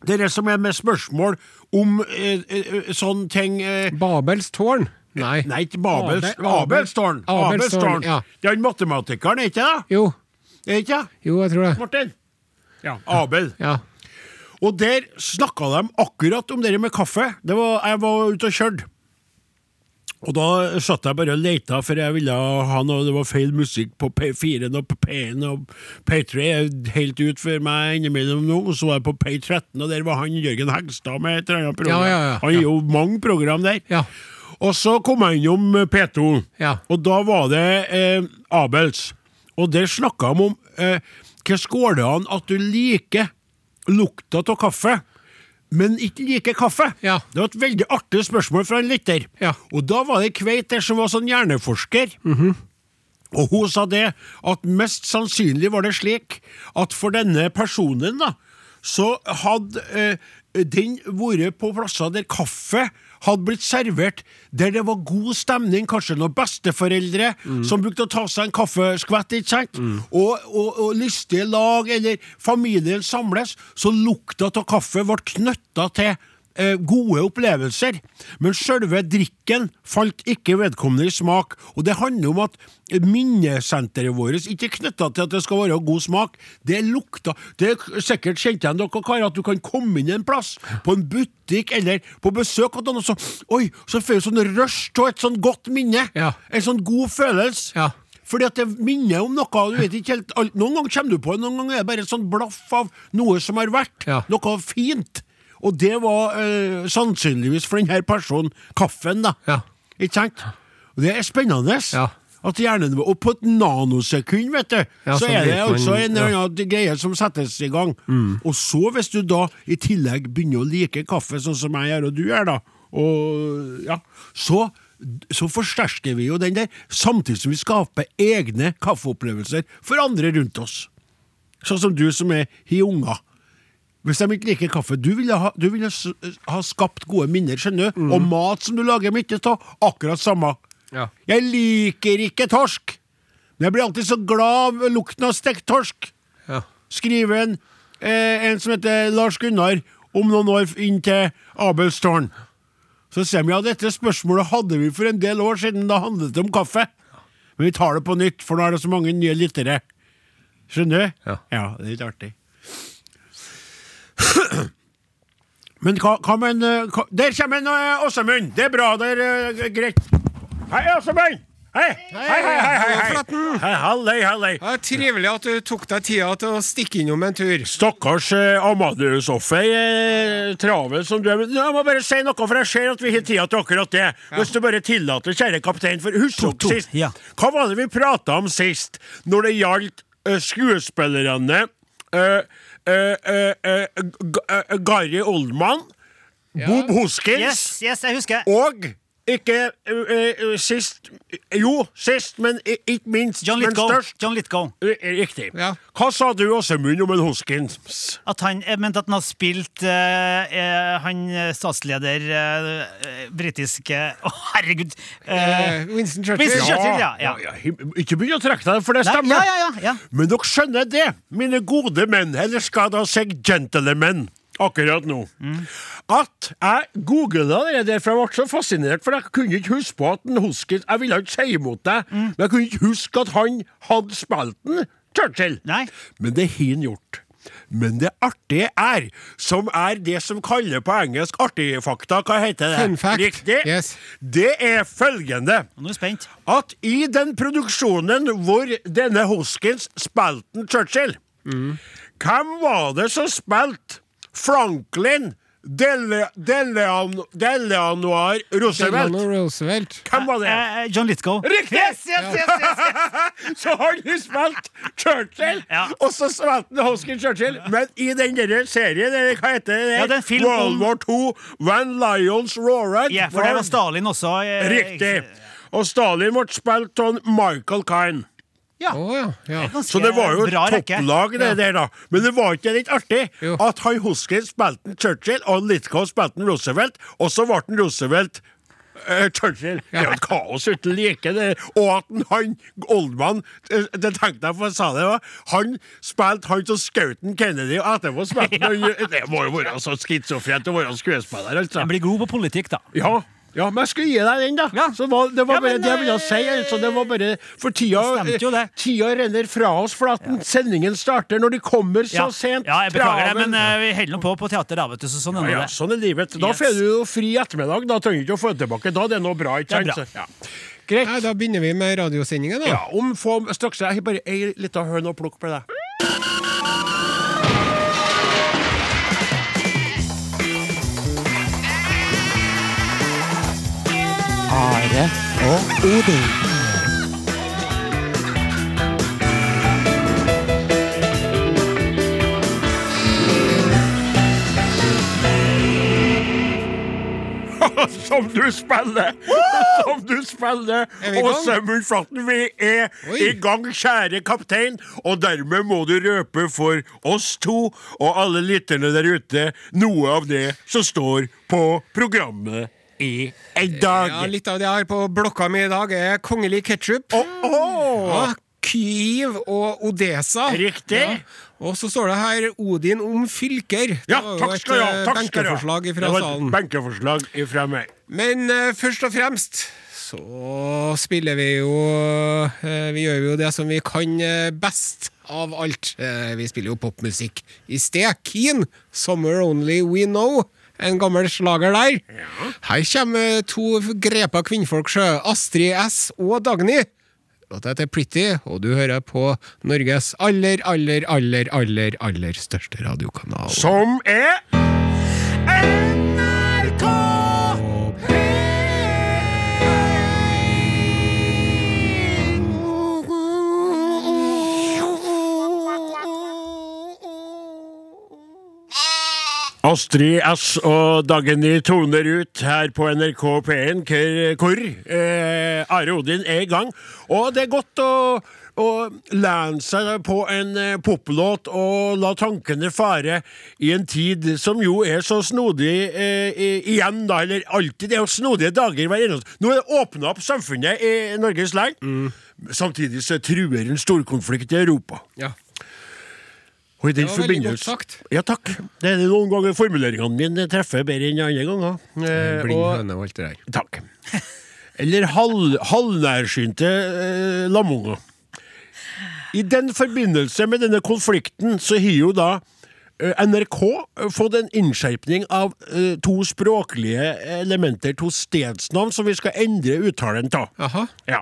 Dere som er med spørsmål om eh, eh, sånne ting eh, Babels tårn. Nei. Nei, ikke Babels. Abel- Abelstårn. Abelstårn, Abelstårn. ja. Det er han matematikeren, er ikke det? Jo. Er det ikke det? Jo, jeg tror det. Martin? Ja. Abel. Ja. Og der snakka de akkurat om det med kaffe. Det var, jeg var ute og kjørte. Og da satt jeg bare og leita, for jeg ville ha noe Det var feil musikk på P4-en og på P1 og P3 er helt ut for meg innimellom nå. Og så var jeg på P13, og der var han Jørgen Hegstad med et eller annet program. Ja, ja, ja, Han ja. gir jo mange program der. Ja. Og så kom jeg innom eh, P2, Ja. og da var det eh, Abels. Og der snakka de om eh, hva skåler han at du liker lukta av kaffe, men ikke liker kaffe. Ja. Det var et veldig artig spørsmål fra en lytter. Ja. Og da var det ei kveit der som var sånn hjerneforsker. Og hun sa det at mest sannsynlig var det slik at for denne personen da, så hadde eh, den vært på plasser der kaffe hadde blitt servert, der det var god stemning, kanskje noen besteforeldre som brukte å ta seg en kaffeskvett, ikke sant? Og, og, og lystige lag, eller familien samles, så lukta av kaffe ble knytta til eh, gode opplevelser, men selve drikken falt ikke vedkommende i smak, og det handler om at minnesenteret vårt ikke er knytta til at det skal være god smak, det lukta det er Sikkert kjente jeg dere karer at du kan komme inn en plass, på en butikk eller på besøk, og noe så, oi, så får du sånn rush av et sånn godt minne, Ja. en sånn god følelse. Ja. Fordi at det minner om noe, du vet ikke helt alt. Noen ganger kommer du på det, noen ganger er det bare et sånn blaff av noe som har vært. Ja. Noe fint. Og det var eh, sannsynligvis for denne personen kaffen, da. Ja. Ikke sant? Og det er spennende. Ja. At hjernen vår Og på et nanosekund, vet du, Ja, så så er det vet man- altså en eller ja. Mm. annen greie som settes i gang. Og så, hvis du da i tillegg begynner å like kaffe, sånn som jeg gjør, og du gjør, da, og ja, så så forsterker vi jo den der, samtidig som vi skaper egne kaffeopplevelser for andre rundt oss. Sånn som du som er har unger. Hvis de ikke liker kaffe Du ville ha, du ville s- ha skapt gode minner, skjønner du? Og mat som du lager mye av. Akkurat samme. Ja. Jeg liker ikke torsk, men jeg blir alltid så glad av lukten av stekt torsk. Ja. Skriver en, eh, en som heter Lars Gunnar, om noen år inn til Abelstårn. Så sier de ja, dette spørsmålet hadde vi for en del år siden, da handlet det om kaffe. Men vi tar det på nytt, for nå er det så mange nye lyttere. Skjønner du? Ja. det er litt artig. Men hva, hva med en eh, hva, Der kommer en eh, Åsemund! Det er bra, det er eh, greit. Hei, Åsemund! Hei! Hei, hei, hei! hei, hei. Flatten. hei hallei, hallei. Ja, trivelig at du tok deg tida til å stikke innom en tur. Stakkars eh, Amadeus-offer, eh, travel som du er men Jeg må bare si noe, for jeg ser at vi har tida til akkurat det. Hvis du bare tillater, kjære kaptein, for husk To, to, dere sist ja. Hva var det vi prata om sist, når det gjaldt eh, skuespillerne eh, eh, eh, eh, G- eh, Gary Oldman, Bob Hoskins Yes, yes, jeg husker. og ikke eh, eh, sist Jo, sist, men i- ikke minst, John men Lithgow. størst. John Lithgow. Eh, Riktig. Ja. Hva sa du, Åsemund, om en Hoskins? At han jeg mente at han har spilt eh, eh, han eh, statsleder eh, eh, britiske Å, herregud! Eh, Eh, Winston Churchill. Winston Ja. Churchill, ja. ja. him- Ikke begynn å trekke deg, for det Nei, stemmer. ja, ja, ja, ja. Men dere skjønner det, mine gode menn, eller skal da si gentlemen, akkurat nå, Mm. at jeg googla det der, for jeg ble så fascinert, for jeg kunne ikke huske på at en Hoskins Jeg ville ikke si imot deg, Mm. men jeg kunne ikke huske at han hadde spilt den, Churchill. Nei. Men det har han gjort. Men det artige er, som er det som kaller på engelsk artige fakta, hva heter det? Fun fact. Riktig. Yes. Det er følgende Nå er jeg spent. at i den produksjonen hvor denne Hoskins spilte Churchill, hvem var det som spilte Franklin Dele, Delean, Deleanoir Roosevelt? Delano Roosevelt. Hvem var det? Eh, eh, John Lithgow. Riktig! Yes, yes, yes, yes, yes. Så har du spilt Churchill, Ja. og så spilte han Hoskins Churchill. Men i den der serien, eller hva heter det? der? Ja, det er en film World om- War II, When Lions Roared. Ja, for det var Stalin også. eh, Riktig. Og Stalin ble spilt av Michael Kine. Ja. Å ja. ja. Ganske Så det var jo et bra rekke. topplag, det der, da. Men det var ikke litt artig Jo. at han Hoskins spilte en Churchill, og han Lithgow spilte en Roosevelt, og så ble han Roosevelt eh, Churchill. Det er jo et kaos uten like. det. Og at han- han Oldman eh, Det tenkte jeg på, jeg sa det, da. han spilte han som skjøt en Kennedy, og etterpå spilte han Det må jo være så schizofrent å være skuespiller, altså. Han blir god på politikk, da. Ja. Ja, men jeg skulle gi deg den, da. Så var, det var Ja, bare men, det jeg ville eh, si. Altså, det var bare, for tida, det stemte jo det. tida renner fra oss, for at sendingen starter når de kommer så Ja, sent. ja jeg beklager det, Travel. men eh, vi holder nå på på teater, da, vet du. Så sånn ja, ender ja, det. sånn er livet. Da Yes. får du jo fri ettermiddag. Da trenger du ikke å få det tilbake. Da er det noe bra. Det ikke er sant? Så, Ja. Greit. Nei, da begynner vi med radiosendingen, da. Ja, om få straks. Jeg har bare ei lita høne å plukke med deg. Are og Odin. Som du spiller! Som du spiller! Er vi i gang? Og Sømmel Flatten, vi er Oi. i gang, kjære kaptein, og dermed må du røpe for oss to og alle lytterne der ute noe av det som står på programmet i en dag. Ja, litt av det jeg har på blokka mi i dag, er kongelig ketsjup. Ja, Kyiv og Odesa. Riktig. Ja. Og så står det her Odin om fylker. Det Ja, var jo takk et, skal du ha. eh, Takk skal du ha. Benkeforslag Det fra var et salen. Benkeforslag ifra meg. Men eh, først og fremst så spiller vi jo eh, Vi gjør jo det som vi kan eh, best av alt. Eh, vi spiller jo popmusikk i sted. Keen, 'Summer Only We Know'. En gammel slager der. Her kommer to grepa kvinnfolk, sjø. Astrid S og Dagny. Låta heter Pretty, og du hører på Norges aller, aller, aller, aller, aller største radiokanal. Som er Astrid S og Dagny toner ut her på NRK P1, hvor, hvor eh, Are Odin er i gang. Og det er godt å, å lene seg på en eh, poplåt og la tankene fare i en tid som jo er så snodig eh, i- igjen, da. Eller alltid. Det er jo snodige dager hver eneste Nå er det åpna opp samfunnet i Norges land. Samtidig så truer en storkonflikt i Europa. Ja. Og i den Det var veldig godt forbindelse- sagt. Ja, takk. Det er noen ganger formuleringene mine treffer bedre enn andre ganger. Eh, Blind og- høne og alt det der. Takk. Eller halv, halvnærsynte eh, lamunger. I den forbindelse med denne konflikten så har jo da eh, NRK fått en innskjerpning av eh, to språklige elementer, to stedsnavn, som vi skal endre uttalen av. Aha. Ja.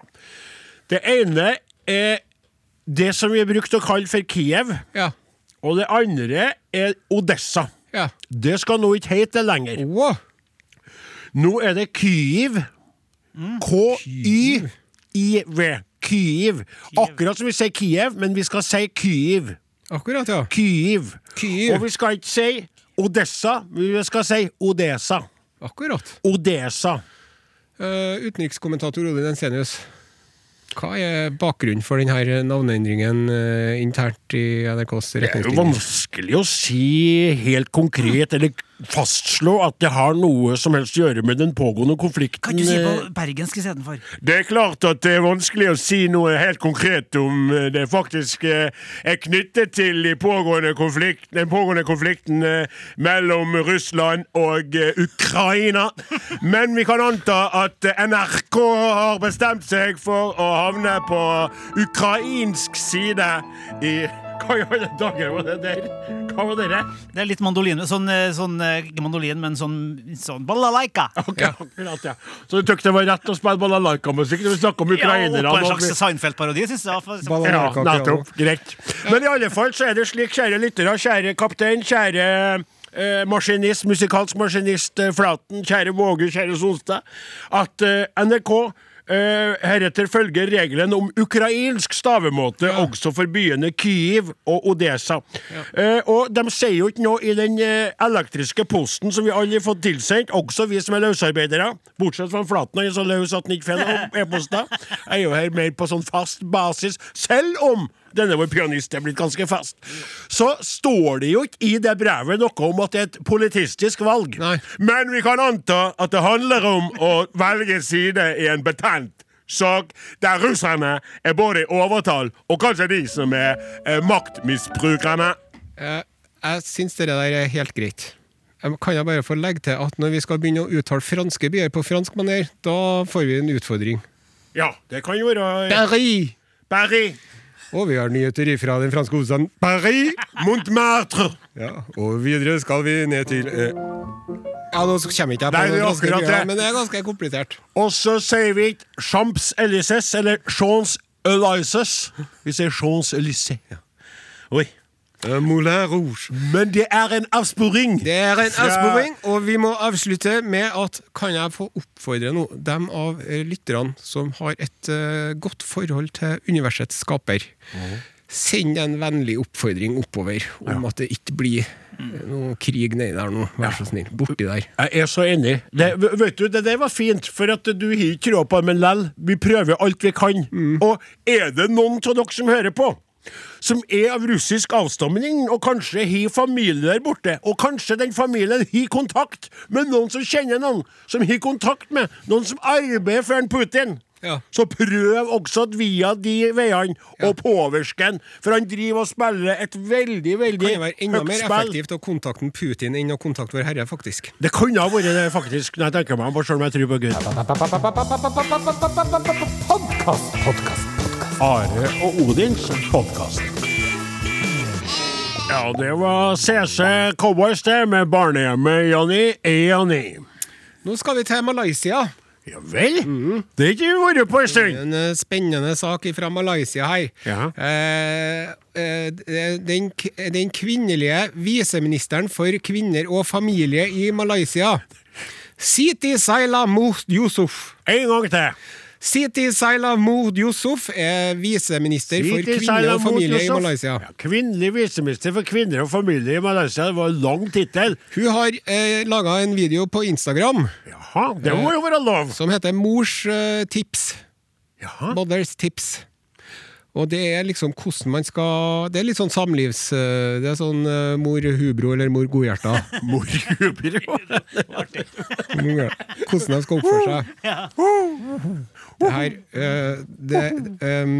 Det ene er det som vi har brukt å kalle for Kiev, Ja. og det andre er Odessa. Ja. Det skal nå ikke hete lenger. Wow. Nå er det Kyiv. K-y-i-v. Kyiv. Akkurat som vi sier Kiev, men vi skal si Kyiv. Akkurat, ja. Kyiv. Kyiv. Og vi skal ikke si Odessa, men vi skal si Odesa. Akkurat. Odesa. Eh, utenrikskommentator Odin Ensenius. Hva er bakgrunnen for denne navneendringen eh, internt i NRKs Det er jo retningslinjer? vanskelig å si helt konkret, eller fastslå at det har noe som helst å gjøre med den pågående konflikten. Kan du si eh, på bergensk istedenfor? Det er klart at det er vanskelig å si noe helt konkret om eh, det faktisk eh, er knyttet til de pågående konflikt, den pågående konflikten eh, mellom Russland og eh, Ukraina. Men vi kan anta at eh, NRK har bestemt seg for å havne på ukrainsk side i Hva i alle dager var det der? Hva var det der? Det er litt mandolin, sånn, eh, sånn eh, ikke mandolin, men sånn, sånn balalaika. Ok, akkurat, ja. Så du tykte det var rett å spille balalaika-musikk når vi snakker om Ja, og ukrainerne? på en og- slags Seinfeld-parodi, syns jeg. for eksempel. Balalaika. Ja, Amerika, nettopp. Greit. Men i alle fall så er det slik, kjære lyttere, kjære kaptein, kjære eh, maskinist, musikalsk maskinist eh, Flaten, kjære Våge, kjære Solstad, at eh, NRK eh, heretter følger regelen om ukrainsk stavemåte også for byene Kyiv og Odesa. Eh, og de sier jo ikke noe i den eh, elektriske posten som vi alle har fått tilsendt, også vi som er løsarbeidere, bortsett fra Flaten, han er så løs at han ikke finner e-poster. Jeg er jo her mer på sånn fast basis, selv om denne vår pianist er blitt ganske fast. Så står det jo ikke i det brevet noe om at det er et politistisk valg. Nei. Men vi kan anta at det handler om å velge side i en betent sak der russerne er både i overtall og kanskje de som er eh, maktmisbrukerne. Eh, jeg syns det der er helt greit. Jeg må- kan jeg bare få legge til at når vi skal begynne å uttale franske byer på fransk maner, da får vi en utfordring. Ja, det kan jo være eh, Paris! Paris, Og vi har nyheter ifra den franske hovedstaden Paris! Montmartre Ja, og videre skal vi ned til eh... Ja, nå kommer ikke jeg på Nei, det er noen franske akkurat byer, det. men det er ganske komplisert. Og så sier vi ikke Champs-Élysées eller Champs-Élysées. Vi sier Champs-Élysées. Oi. Eh, Moulin Rouge. Men det er en avsporing. Det er en Fra- avsporing, og vi må avslutte med at kan jeg få oppfordre nå dem av eh, lytterne som har et eh, godt forhold til universets skaper. Send en vennlig oppfordring oppover om at det ikke blir eh, noe krig nedi der nå, vær så snill. Borti der. Jeg er så enig. Det, vet du, det der var fint, for at du har ikke råd på det, men lell, vi prøver alt vi kan. Mm. Og er det noen av dere som hører på, som er av russisk avstamning, og kanskje har familie der borte, og kanskje den familien har kontakt med noen som kjenner noen, som har kontakt med noen som arbeider for en Putin? Ja. Så prøv også at via de veiene å påvirke han, for han driver og spiller et veldig, veldig Kan det være enda høyt mer spill. effektivt å kontakte Putin enn å kontakte Vår Herre, faktisk? Det kunne ha vært det, faktisk, når jeg tenker meg om, for selv om jeg tror på Gud. Are og Odins podkast. Ja, det var CC Cowboys, det, med barnehjemmet Janni E-Janni. Nå skal vi til Malaysia. Ja vel? Det har ikke vi vært på en stund. En eh, spennende sak fra Malaysia her. Ja. Eh, eh, d- den, k- den kvinnelige viseministeren for kvinner og familie i Malaysia, Siti Saila Mohd Yusuf. En gang til. Siti Saila Mohd Yusuf er viseminister for Siti kvinner og Salamut familie i Yusuf. Malaysia. Ja, kvinnelig viseminister for kvinner og familie i Malaysia. Det var en lang tittel. Hun har eh, laga en video på Instagram Jaha, det må jo være lov. som heter Mors eh, tips. Jaha. Mothers tips. Og det er liksom hvordan man skal Det er litt sånn samlivs... eh, Det er sånn eh, mor hubro eller mor godhjerta. Mor jubler. Mor- Hvordan de skal oppføre seg. Det her eh, Det em,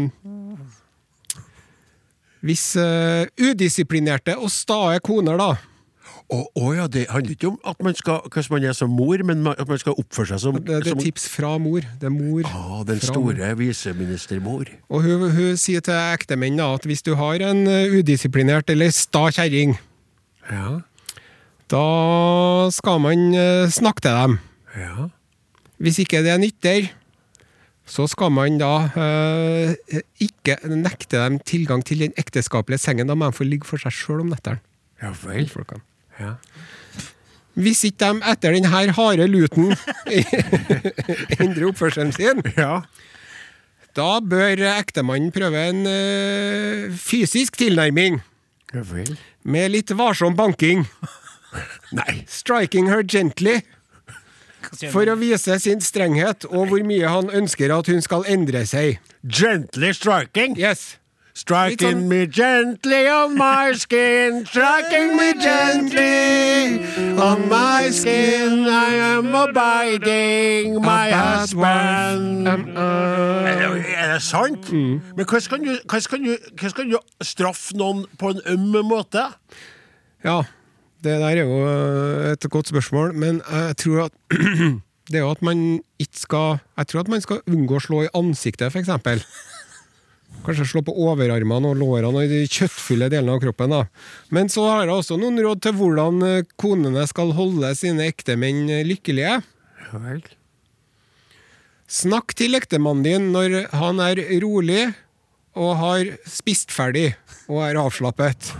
Hvis eh, udisiplinerte og stae koner, da. Å å ja, det handler ikke om at man skal, hvordan man er som mor, men ma- at man skal oppføre seg som, Det, det som er tips fra mor. Det er mor. ah, den fra mor. store viseministermor. Og hun, hun sier til ektemenn da, at hvis du har en eh, udisiplinert eller sta kjerring, Ja, da skal man eh, snakke til dem. ja. Hvis ikke det nytter, så skal man da eh, ikke nekte dem tilgang til den ekteskapelige sengen. Da må de få ligge for seg sjøl om nettene. Ja vel. folkene. Ja. Hvis ikke de etter den her harde luten endrer oppførselen sin, Ja. da bør ektemannen prøve en eh, fysisk tilnærming. ja vel. Med litt varsom banking. Nei. Striking her gently Hva for sier å vise sin strenghet og hvor mye han ønsker at hun skal endre seg. Gently striking. Yes. Striking Litt sånn- me gently on my skin, striking me sånn- gently on my skin. I am abiding my Bad husband. wife. Um, uh, Mm. Er det- Er det sant? Men hvordan kan, du, hvordan, kan du, hvordan kan du straffe noen på en øm måte? Ja, det der er jo eh, et godt spørsmål, men jeg tror at det er jo at man ikke skal Jeg tror at man skal unngå å slå i ansiktet, f.eks. Kanskje slå på overarmene og lårene og de kjøttfulle delene av kroppen. da. Men så har jeg også noen råd til hvordan eh, konene skal holde sine ektemenn eh, lykkelige. Snakk til ektemannen din når han er rolig og har spist ferdig og er avslappet.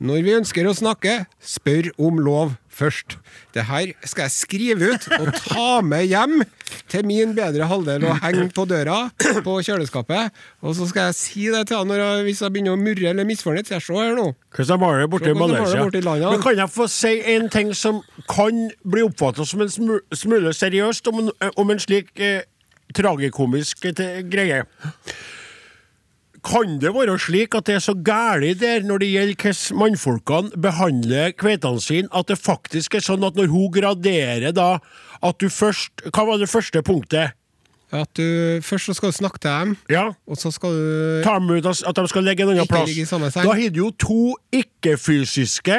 Når vi ønsker å snakke, spør om lov først. Det her skal jeg skrive ut og ta med hjem til min bedre halvdel og henge på døra på kjøleskapet. Og så skal jeg si det til han når jeg, hvis jeg begynner å murre eller misfornøyd. Se her nå. Hvordan var det borte Se hvordan var det borte i landet. Men kan jeg få si en ting som kan bli oppfatta som en smu- smule seriøst om en, om en slik eh, tragikomisk eh, te- greie? Kan det være slik at det er så gæli der når det gjelder hvordan mannfolkene behandler kveitene sine, at det faktisk er sånn at når hun graderer, da at du først Hva var det første punktet? At du, først så skal du snakke til dem, Ja? og så skal du tar dem ut av, at de skal legge en annen Ikke plass. ligge i samme seng. Da har du jo to ikke-fysiske,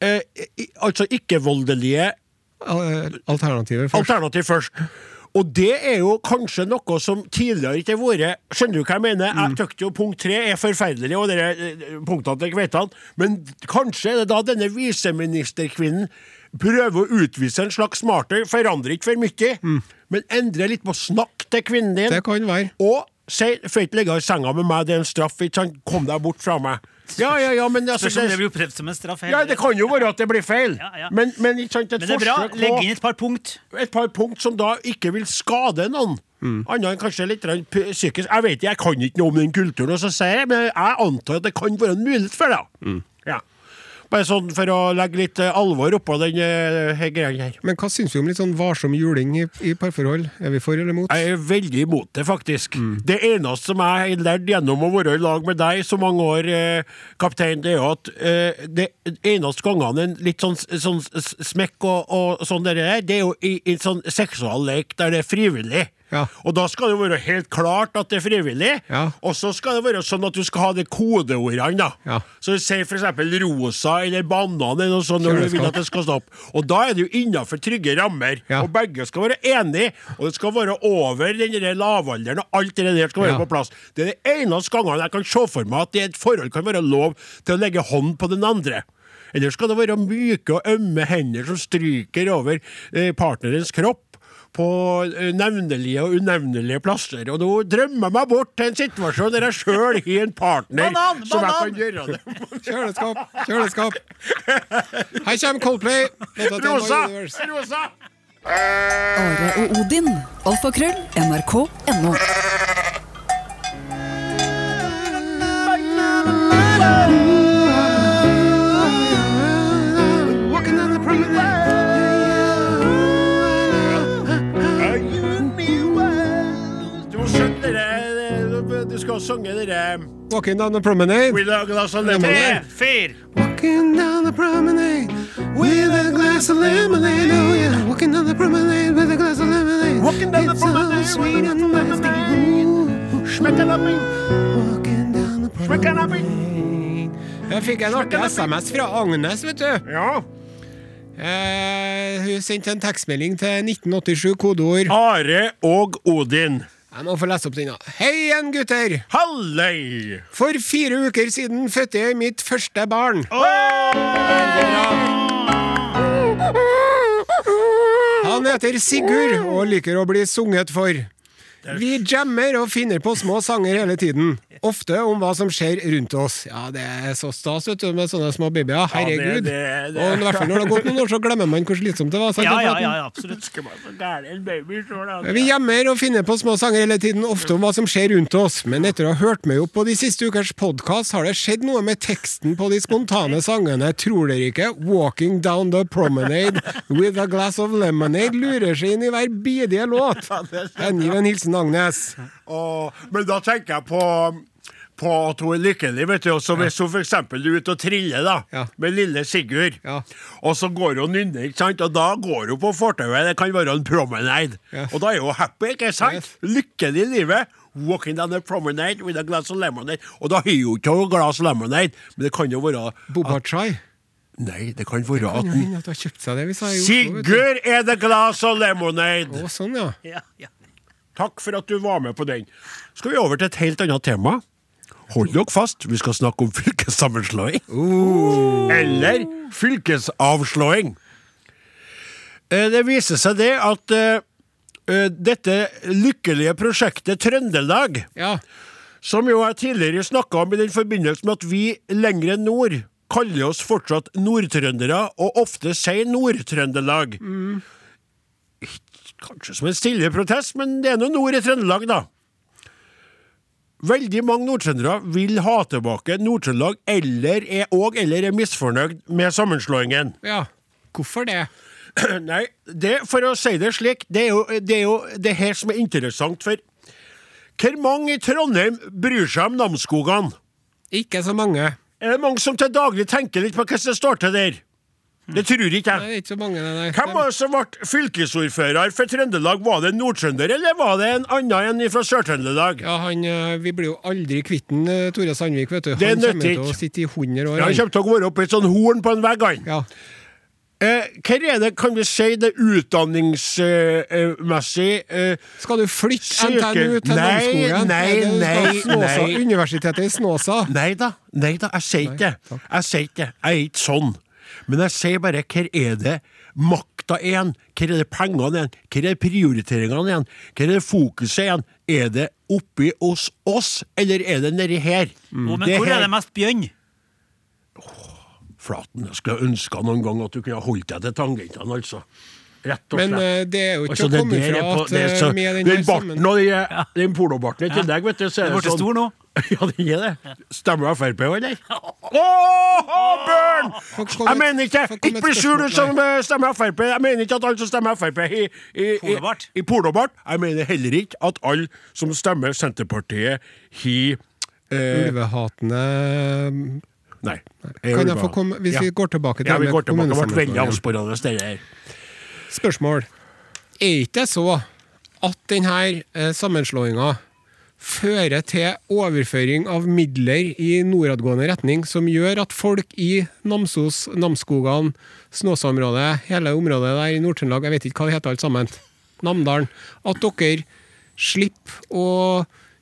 eh, i- altså ikke-voldelige eh, Alternativet først. alternativ først. Og det er jo kanskje noe som tidligere ikke har vært Skjønner du hva jeg mener? Mm. Jeg tykte jo punkt tre er forferdelig, og dere eh, punktene til kveitene, men kanskje er det da denne viseministerkvinnen prøver å utvise en slags smarter, forandrer ikke for mye, men endrer litt på snakk til kvinnen din. Mm. Det kan være. Og si får ikke ligge i senga med meg, det er en straff, ikke sant? Kom deg bort fra meg. Ja, ja, ja, men altså, Spørs om det det, blir opplevd som en straff. ja, det kan jo være at det blir feil, Ja, ja. men, men ikke sant, et Men det er bra. forsøk Legg på inn et par punkt. et par punkt som da ikke vil skade noen. Annet enn kanskje litt grann p- psykisk. Jeg vet ikke, jeg kan ikke noe om den kulturen, og så sier jeg, men jeg antar at det kan være en mulighet for det. Ja. Bare sånn for å legge litt eh, alvor oppå den eh, her greia her. Men hva syns vi om litt sånn varsom juling i, i parforhold? Er vi for eller mot? Jeg er veldig imot det, faktisk. Mm. Det eneste som jeg har lært gjennom å være i lag med deg så mange år, eh, kaptein, det er jo at eh, det eneste gangene en litt sånn, sånn s- smekk og, og sånn der, er, det er jo i, i sånn seksual lek der det er frivillig. Ja. Og da skal det være helt klart at det er frivillig, Ja. og så skal det være sånn at du skal ha de kodeordene, da. Ja. Så si for eksempel rosa eller banan eller noe sånt når du vil at det skal stoppe. Og da er det jo innafor trygge rammer. Ja. Og begge skal være enige, og det skal være over den der lavalderen, og alt det der skal være Ja. på plass. Det er det eneste gangen jeg kan se for meg at det i et forhold kan være lov til å legge hånd på den andre. Ellers skal det være myke og ømme hender som stryker over eh, partnerens kropp. På eh, nevnelige og unevnelige plasser. Og nå drømmer jeg meg bort til en situasjon der jeg sjøl har en partner Banan, som jeg banan! kan gjøre det Kjøleskap, kjøleskap. Her kommer Coldplay. Låta til Rosa! My Universe. Rosa! Are og Odin. Alfakrøll. NRK.no. Du må skjønne dere Du skal synge dere Walking down the promenade. With a glass of lemonade. Eh, Fyr! Walking down the promenade with a glass of lemonade. Oh yeah. Walking down the promenade with a glass of lemonade. Walking down the It's so promenade sweet with a and glass of nasty. lemonade. Smekk den opp min. Walking down the men kan jeg begynne? Jeg fikk en artig SMS fra Agnes, vet du. Ja. Eh, hun sendte en tekstmelding til 1987, Ah. kodeord. Are og Odin. Jeg må få lese opp den. da. Hei igjen, gutter! Hallei! For fire uker siden fødte jeg mitt første barn. Han heter Sigurd og liker å bli sunget for. Vi jammer og finner på små sanger hele tiden. Ofte om hva som skjer rundt oss. Ja, det er så stas vet du, med sånne små babyer. det- Herregud. det- det- Og i hvert fall når det har gått noen år, så glemmer man hvor slitsomt det var. sant? Ja, Det er ja, for at ja, man- ja, absolutt. Skal man få gære en baby sjøl, altså? Vi jammer og finner på små sanger hele tiden, ofte om hva som skjer rundt oss. Men etter å ha hørt meg opp på de siste ukers podkast, har det skjedd noe med teksten på de spontane sangene. Tror dere ikke? Walking down the promenade with a glass of lemonade lurer seg inn i hver bidige låt. Hengiv en hilsen Agnes. Og, men da tenker jeg på på at hun er lykkelig. vet du, også Hvis hun f.eks. er ute og triller da, Ja. med lille Sigurd, Ja. og så går hun nynner, ikke sant? og da går hun på fortauet. Det kan være en promenade. Ja. Og da er hun happy, ikke sant? Yes. Lykkelig i livet. Walking down the promenade with a glass of lemonade. Og da har hun ikke noe glass lemonade, men det kan jo være Boba Chai. Nei, det kan være Ja, at men at du har kjøpt seg det vi sa i Oslo, vet du. Sigurd er the glass of lemonade! Å, sånn, ja. Ja, ja. Takk for at du var med på den. Skal vi over til et helt annet tema? Hold dere fast, vi skal snakke om fylkessammenslåing. Eller fylkesavslåing. Eh, Det viser seg det at eh, eh, dette lykkelige prosjektet Trøndelag, ja. som jo jeg tidligere snakka om i den forbindelse med at vi lengre nord kaller oss fortsatt nordtrøndere, og ofte sier Nord-Trøndelag. Kanskje som en stille protest, men det er nå nord i Trøndelag, da. Veldig mange nordtrøndere vil ha tilbake Nord-Trøndelag, eller er og eller er misfornøyd med sammenslåingen. Ja. Hvorfor det? Nei, det, for å si det slik, det er, jo, det er jo det her som er interessant, for hvor mange i Trondheim bryr seg om Namsskogan? Ikke så mange. Er det mange som til daglig tenker litt på hvordan det står til der? Det tror ikke Nei, jeg. det er ikke så mange, nei, nei. Hvem var det som ble fylkesordfører for Trøndelag? Var det en nordtrønder, eller var det en annen enn fra Sør-Trøndelag? Ja, han, eh, Vi blir jo aldri kvitt den, eh, Tore Sandvik. vet du. Det Han kommer nytter til å ikke. sitte i 100 år. Han han. kommer til å gå opp i et sånn horn på en vegg, han. Ja. Eh, hva er det, kan vi si, det utdanningsmessig eh, Skal du flytte Søker- NTNU til Nei, Namsskogen? nei, det- du skal nei, til Snåsa. nei. Universitetet i Snåsa. Nei da, nei da, jeg sier ikke det. Jeg sier ikke det. Jeg er ikke sånn. Men jeg sier bare hvor er det makta er igjen? Hvor er det pengene igjen? Hvor er det prioriteringene igjen? Hvor er det fokuset igjen? Er det oppi hos oss, eller er det nedi her? Å, men hvor er her- det mest bjørn? Flaten, jeg skulle ønska noen gang at du kunne holdt deg til tangentene, altså. Rett og Men slett. eh, det er jo ikke Altså, å det komme der ifra er på- at det er eh, så- med den her Den sammen... barten og de- den polobarten i tillegg, vet du, så er Den det ble sånn stor nå. Ja, den er det. Stemmer Frp òg, eller? Åh, Bjørn! Får komme Jeg et- mener ikke får komme Ikke et bli sur, du spørsmål, som eh, stemmer Frp. Jeg mener ikke at alle som stemmer Frp i, i, i, Polobart. i polobart Jeg mener heller ikke at alle som stemmer Senterpartiet, har eh, Ulvehatende Nei. Mm. Kan jeg få komme, hvis vi går tilbake til ja, det vi med går tilbake. Det ble veldig kommunesammenslåingen. avsporende, det der. Spørsmål. Er ikke det så at denne sammenslåinga fører til overføring av midler i nordadgående retning, som gjør at folk i Namsos, Namsskogan, Snåsa-området, hele området der i Nord-Trøndelag, jeg vet ikke hva det heter alt sammen, Namdalen, at dere slipper å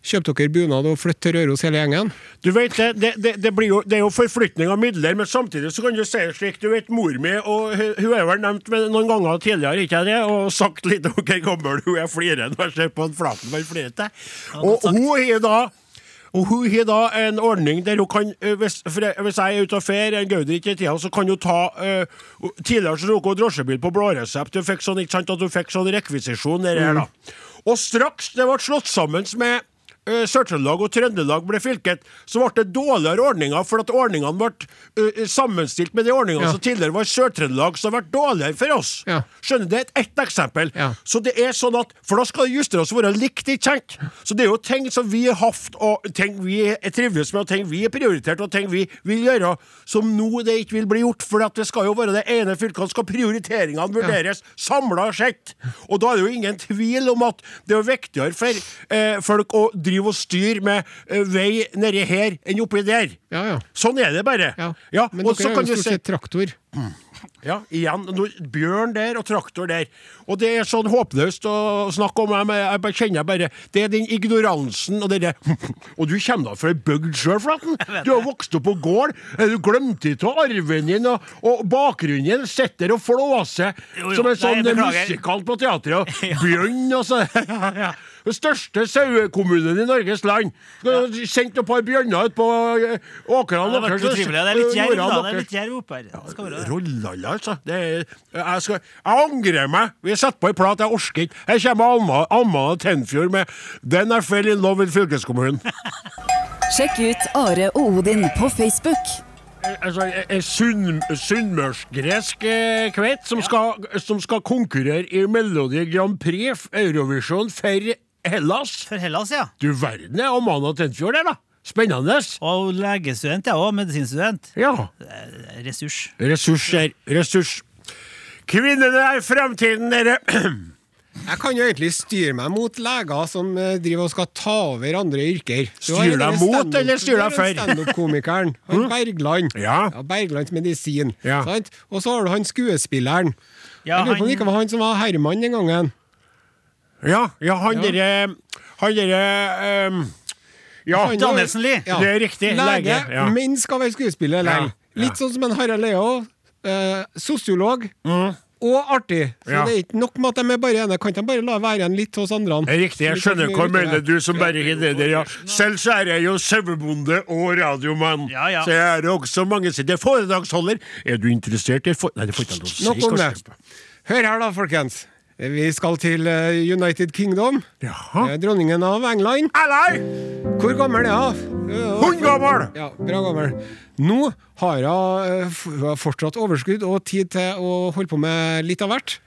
kjøpe dere bunad og flytte til Røros hele gjengen? Du vet, det, det, det, det, blir jo, det er jo forflytning av midler, men samtidig så kan du si det slik. Du vet, mor mi og hun hun er vel nevnt med noen ganger tidligere, ikke jeg det? Og sagt litt om hvor gammel hun er, flirer når jeg ser på en flaten man flirer til. Og hun har da og hun har da en ordning der hun kan eh, Hvis, for jeg- hvis jeg er ute og fer, en gauder ikke i tida, så kan hun ta eh, Tidligere så tok hun drosjebil på blå resept. Hun fikk sånn, ikke sant, at hun fikk sånn rekvisisjon. Mm. Der, her, da. Og straks det ble slått sammen med eh, Sør-Trøndelag og Trøndelag ble fylket, så ble det dårligere ordninger, for at ordningene ble eh, sammenstilt med de ordningene Ja. som tidligere var i Sør-Trøndelag, som har vært dårligere for oss. Ja. Skjønner du? Det er ett eksempel. Ja. Så det er sånn at, For da skal det justeres og være likt, ikke sant? Så det er jo ting som vi har hatt, og ting vi er trives med, og ting vi er prioritert, og ting vi vil gjøre, som nå det ikke vil bli gjort. For at det skal jo være det ene fylket, skal prioriteringene vurderes samla sett. Og da er det jo ingen tvil om at det er jo viktigere for eh, folk å drive drive og styre med eh, vei nedi her enn oppi der. Ja, ja. Sånn er det bare. Ja. Men og dere så er kan jo du stort si sett traktor. ja, igjen. Nå- Bjørn der og traktor der. Og det er sånn håpløst å snakke om. Jeg, jeg bare kjenner bare Det er den ignoransen og det der Og du kommer da fra ei bygd sjøl, Flatten. Du har vokst opp på gård. Du glemte ikke av arven din, og, og bakgrunnen din sitter der og flåser Jo, jo, som en nei, sånn jeg beklager. musikant på teatret. Og Bjørn, altså. Den største sauekommunen i Norges land. Sendte et par bjørner ut på eh, åkrene. Det har deres, vært så trivelig. Det er litt eh, jerv, jordene da. Det er deres. litt jerv oppe her. Det skal være det. Rollalla, altså. Det er, jeg, skal, jeg angrer meg. Vi setter på en plat. Jeg orker ikke. Her kommer Alma- Amman og Tenfjord med 'Then I Fell in Love with fylkeskommunen'. Sjekk ut Are og Odin på Facebook. altså, en sunn, sunnmørsgresk eh, kvett som, skal, som skal konkurrere i Melodi Grand Prix, Eurovision, for Hellas. For Hellas, ja. Du verden, er Amanda Tenfjord der, da. Spennende. Og legestudent, jeg òg. Medisinstudent. Ja. Ressurs. Ressurser. Ressurs. Kvinnene er fremtiden, dere. Jeg kan jo egentlig styre meg mot leger som eh, driver og skal ta over andre yrker. Du har Styr den der deg mot, stand-up- eller styr deg du har den for? Standup-komikeren. Han Bergland. Ja. Berglands medisin. Ja. Sant? Og så har du han skuespilleren. Ja, jeg lurer på om det ikke han, var han som var Herman den gangen. Ja, ja han Ja. derre Han derre ehm, Ja. Han var- Danielsen Lie. Ja. Det er riktig. Lege, Lege, ja. men skal være skuespiller lenge. Ja, ja. Litt sånn som en Harald Leo. Eh, sosiolog. Og artig. Så Mm. Ja. det er ikke nok med at de er bare ene. Kan ikke de bare la være igjen litt hos andre? Det er Riktig, jeg skjønner hva du mener, du som bare har det der, ja. Selv så er jeg jo sauebonde og radiomann. Ja, ja. Så jeg er også mangesidig foredragsholder. Er du interessert i for... Nei, det får ikke jeg lov til å si. Nok om det. Karsten. Hør her, da, folkens. Vi skal til eh, United Kingdom. Jaha. Eh, Dronningen av England. Eller Hvor gammel er hun? Eh, hundegammel! Ja, bra gammel. Nå har hun eh, f- fortsatt overskudd og tid til å holde på med litt av hvert.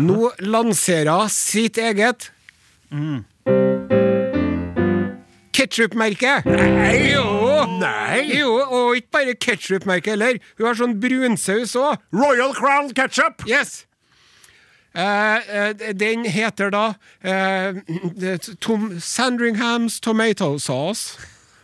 Nå lanserer hun sitt eget Mm. Ketchup-merke! Nei, jo! Nei! Jo, og ikke bare ketchup-merke heller. Hun har sånn brunsaus òg. Royal Crown Ketchup! Yes! Eh, eh, den heter da eh, det- Tom Sandringham's Tomato Sauce.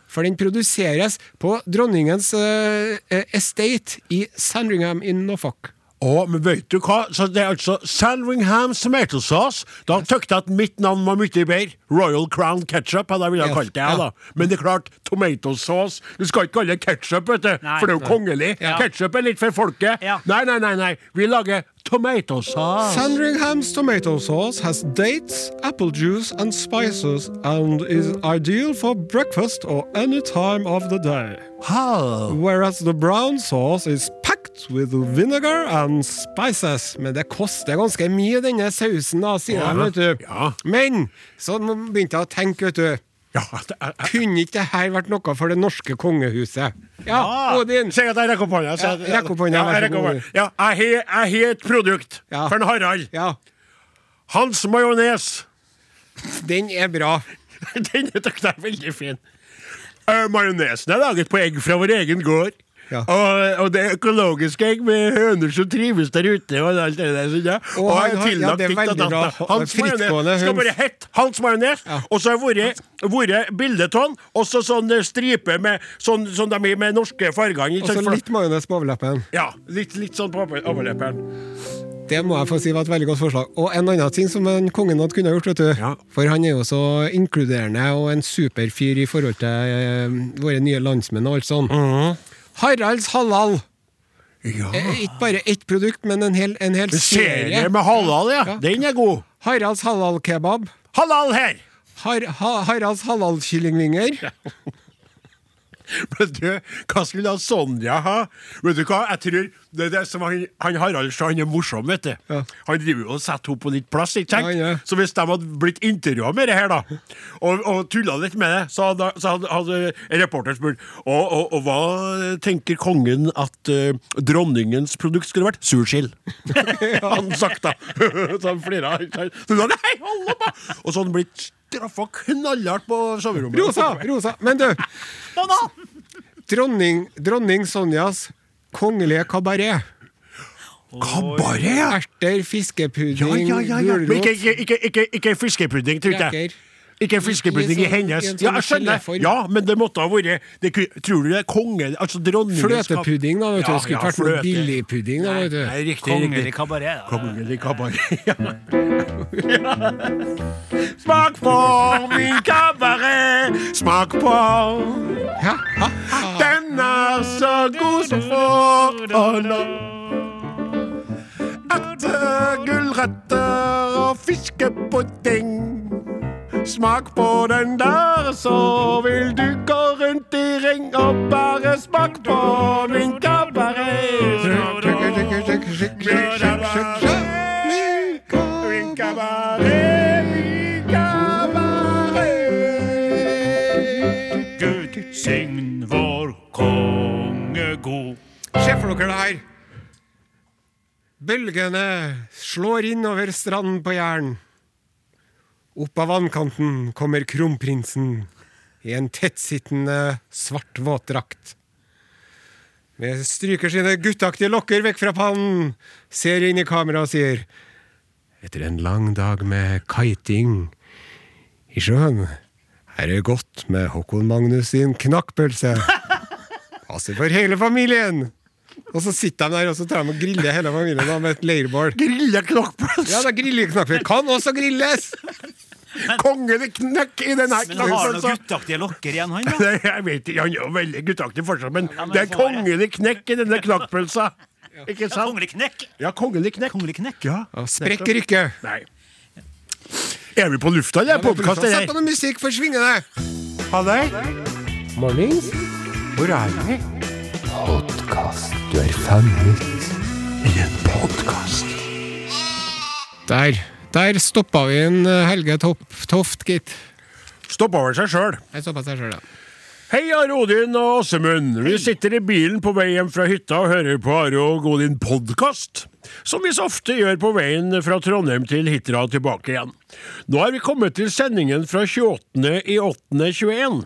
For den produseres på dronningens eh, eh, estate i Sandringham i Norfolk. Å, men vet du hva? Så det er altså Sandringham's tomato sauce. Da tykte jeg at mitt navn var mye bedre. Royal Crown Ketchup hadde jeg ville Yes, ha kalt det. ja. jeg, da. Men det er klart, tomato sauce Du skal ikke kalle det ketsjup, vet du. Nei. for det er jo kongelig. Ja. Ketchup er litt for folket. Ja. Nei, nei, nei, nei. Vi lager tomato sauce. Sandringham's tomato sauce has dates, apple juice, and spices, and is ideal for breakfast or any time of the day. Ha. Whereas the brown sauce is packed with vinegar and spices. Men det koster ganske mye, denne sausen, da, sier Ja, de, vet du. ja. Men så nå begynte jeg å tenke, vet du. Ja, det er- jeg- Kunne ikke det her vært noe for det norske kongehuset? Ja, Odin! Si at jeg rekker opp hånda. så Ja, jeg- rekk opp hånda, Ja, vær så jeg rekker opp god. hånda. Ja, jeg har- jeg har et produkt Ja. for en Harald. Ja, Hans majones. den er bra. Den tykte jeg er veldig fin. Uh, Majonesen er laget på egg fra vår egen gård. Ja. Og, og det er økologiske egg med høner som trives der ute. Og alt det der sånn, ja. Og Og han jeg har- ja, tillagt det er ditt og veldig bra. datt. Hans Frittgående majones skal høns. bare hett Hans majones. Ja. Og så har det vært- vært bildetonn, og så sånn eh, stripe med sånn, sånn de er med norske farger. Og så litt majones på overleppen. ja, litt, litt sånn på overlepperen. Det må jeg få si var et veldig godt forslag. Og en annen ting som en kongen hadde kunnet gjort, vet du. Ja. For han er jo så inkluderende og en superfyr i forhold til eh, våre nye landsmenn og alt sånn. Mhm. Haralds halal. Ja. Eh, Ikke bare ett produkt, men en hel, en hel Serie serie. med halal, ja. Ja. Den er god. Haralds halal-kebab. Halal her! Har, ha, Haralds halal-kyllingvinger. Men du, hva skulle da Sonja ha? Vet du hva, jeg tror det er det som han, han Harald sa, han er morsom, vet du. Ja. Han driver jo og setter henne på litt plass, ikke sant? Ja, ja. Så hvis de hadde blitt intervjua med det her, da, og, og tulla litt med det, så hadde, så hadde, hadde reporteren spurt og, og, og hva tenker kongen at eh, dronningens produkt skulle vært? Sursild. han sagt, da. så han flira. ikke sant? Så da, Nei, hold opp, da! Og så hadde han blitt straffa knallhardt på soverommet. Rosa! rosa. Men du, Banan! dronning, dronning Sonjas kongelige kabaret. Kabaret! ja. Erter, fiskepudding, Ja, ja, ja, ja. Men gulrot ikke, ikke, ikke, ikke, ikke fiskepudding, tror jeg. Reker. Ikke en fiskebrytning I i en sånn- hennes i en sånn Ja, jeg skjønner. geléform. Ja, men det måtte ha vært det, ku- Tror du det er konge... Altså dronningen Fløtepudding, da. vet du. Ja, Det skulle ja, ikke vært noe fløte. billig pudding. da, vet Nei, du. riktig, Kongelig riktig. kabaret. da. Kongelig kabaret. Ja. Smak på min kabaret, smak på Ja, ja, ja. Den er så god som får Åla. Erter, eh, gulrøtter og fiskepudding. Smak på den der, så vil du gå rundt i ring og bare smak på min kabaret. Gud sign vår konge god. Se for dere det her. Bølgene slår innover stranden på Jæren. Opp av vannkanten kommer kronprinsen i en tettsittende svart våtdrakt. Med stryker sine guttaktige lokker vekk fra pannen, ser inn i kameraet og sier Etter en lang dag med kiting i sjøen, her er det godt med Håkon Magnus sin knakkpølse. Passer for hele familien! Og så sitter de der og så tar de og griller hele familien da, med et leirbål. Grilla Ja, knokkpølse! da griller knapper. Kan også grilles! Kongelig knekk i den her Men da har han knekkelsen. noen guttaktige lokker igjen, han, da. Nei, Jeg vet ikke, Han er jo veldig guttaktig fortsatt, men men det er det får være. kongelig knekk i denne knakkpølsa. Ikke Ja, sant? Kongelig knekk. Ja, kongelig knekk. Kongelig knekk. Ja. Ja, Sprekker ikke. Nei. Er vi på lufta, eller? Podkast, Sett eller? på noe musikk for svingene! Ha det. Mornings. Hvor er vi? Der. Der stoppa vi en eh, Helge Topp, Toft, gitt. Stopp over seg sjøl. Jeg stoppa seg sjøl, da. Hei, Are Odin og Åsemund. Vi sitter i bilen på vei hjem fra hytta og hører på Are og Odin podkast, som vi så ofte gjør på veien fra Trondheim til Hitra og tilbake igjen. Nå er vi kommet til sendingen fra 28. i 8.21.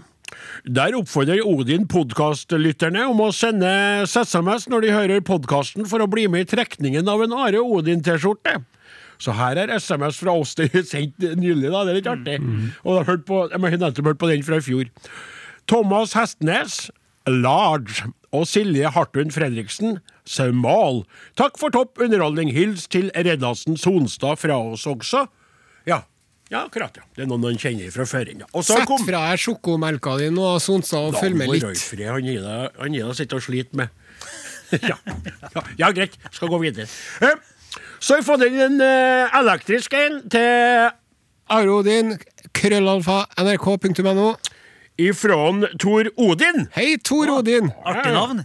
Der oppfordrer Odin podkastlytterne om å sende SMS når de hører podkasten, for å bli med i trekningen av en Are Odin-T-skjorte. Så her er SMS fra oss det er sendt nylig, da. Det er litt artig. Og de har hørt på, de har nettopp hørt på den fra i fjor. Thomas Hestnes, Large, og Silje Hartun Fredriksen, Saumal. Takk for topp underholdning. Hils til Reddasen Sonstad fra oss også. Ja, ja akkurat, ja. Det er noen han kjenner fra før. Ja. Og så Sett kom fra deg sjokomelka di nå, Sonstad, og følg med Dalvor litt. Røyfri, han Ida, han Ida sitter og sliter med. ja. Ja, ja, greit. Skal gå videre. Eh, Så har vi fått inn en eh, elektrisk en til Are Odin, krøllalfa, nrk.no. ifra Tor Odin. Hei, Tor Odin! Artig navn.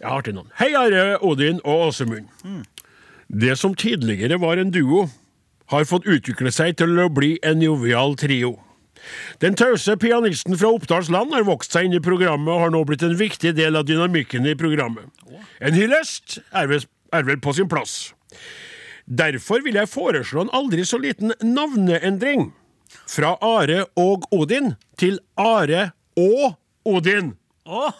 Jeg har til noen. Hei, Are Odin og Åsemund. Det som tidligere var en duo, har fått utvikle seg til å bli en jovial trio. Den tause pianisten fra Oppdalsland har vokst seg inn i programmet og har nå blitt en viktig del av dynamikken i programmet. En hyllest er vel- er vel på sin plass. Derfor vil jeg foreslå en aldri så liten navneendring. Fra Are og Odin til Are og Odin. Ja,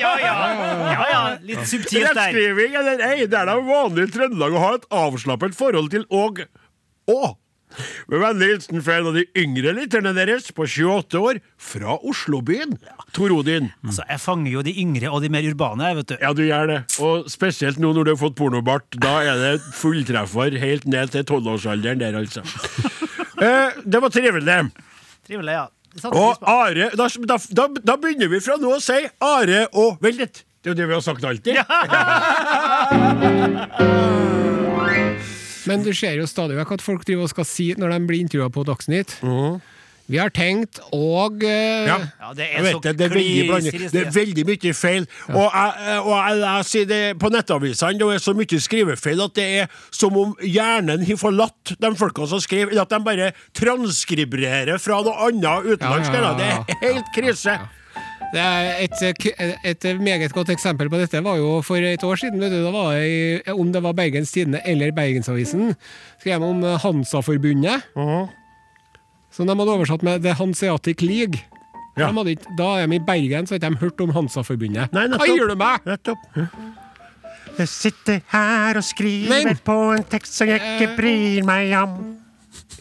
ja, ja. ja, ja. Litt subtilt der. Rettskriving eller ei, det er da vanlig i Trøndelag å ha et avslappet forhold til og å. Med vennlig hilsen fra en av de yngre lytterne deres på 28 år, fra Oslobyen, Tor Odin. Altså, jeg fanger jo de yngre og de mer urbane, jeg, vet du. Ja, du gjør det. Og spesielt nå når du har fått pornobart. Da er det fulltreffer helt ned til tolvårsalderen der, altså. Eh, det var trivelig. Trivelig, ja. Det satte pris Og på. Are da, da, da, da begynner vi fra nå å si Are og Vent litt. Det er jo det vi har sagt alltid. Men du ser jo stadig vekk at folk driver og skal si når de blir intervjua på Dagsnytt Vi har tenkt og eh, Mhm. Ja. Ja, det er Jeg så vet det, det er veldig blanding. klister i Det er veldig mye feil. Og jeg, eh, og jeg, jeg sier det på nettavisene, det er så mye skrivefeil at det er som om hjernen har forlatt de folka som skriver, eller at de bare transkriberer fra noe annet Ja, utenlandsk. ja, eller? ja, Det er helt krise. Det er et, eh, k- et meget godt eksempel på dette var jo for et år siden. Vet du, da var det i, om det var Bergens Tidende eller Bergensavisen, skrev de om eh, Hansa-forbundet. Mhm. Som de hadde oversatt med The Hanseatic League. Ja. De hadde ikke, da er de i Bergen, så har ikke de hørt om Hansa-forbundet. Nei, Hva nettopp. gjør du meg?! Nettopp. Jeg sitter her og skriver Men- på en tekst som jeg Eh. bryr meg om.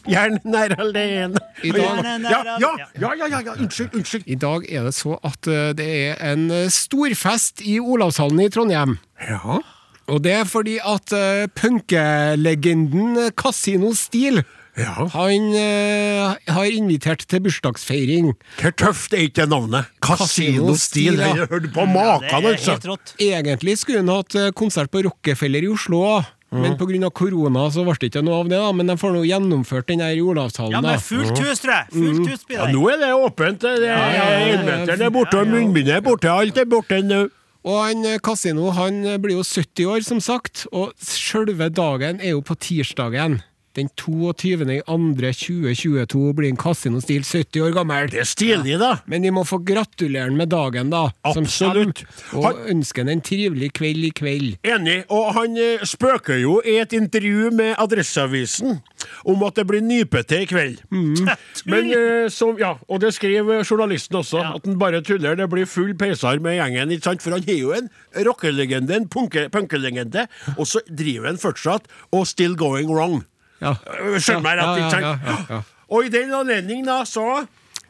Hjernen er alene. I dag- Hjernen er Ja, ja, alene. ja, ja, ja, ja. Unnskyld, unnskyld. I dag er det så at eh, det er en eh, storfest i Olavshallen i Trondheim. Ja. Og det er fordi at uh, punkelegenden eh, Casino Steel Ja. han eh, har invitert til bursdagsfeiring. Hvor tøft er ikke det navnet? Kasinostil. Kasinostil, ja. Jeg hørte på Det maken, er altså. helt rått. Egentlig skulle han hatt eh, konsert på Rockefeller i Oslo òg. Men pga. korona så ble det ikke noe av det, da. men de får nå gjennomført den her i Olavshallen. Ja, da. men fullt hus, tror jeg. Fullt hus blir Ja, det. nå er det åpent. Det er ja, ja. Innmeteren er borte, og munnbindet er borte. Alt er borte nå. Og han eh, Casino han eh, blir jo 70 år, som sagt, og sjølve dagen er jo på tirsdagen. Den 22.2.2022 blir en Casino Steel 70 år gammel. Det er stilig, da. Men vi må få gratulere han med dagen, da. som Absolutt. kommer, Og Han- ønske han en trivelig kveld i kveld. Enig. Og han eh, spøker jo i et intervju med Adresseavisen om at det blir nypete i kveld. Mm. Men eh, som, ja, Og det skrev journalisten også, at han bare tuller. Det blir full peisar med gjengen, ikke sant? for han er jo en rockelegende, en punke- punkelegende, og så driver han fortsatt og still going wrong. Ja. Eh, Skjønner meg Ja, rett, ja, ikke sant? ja, ja, ja. Og i den anledning, da, så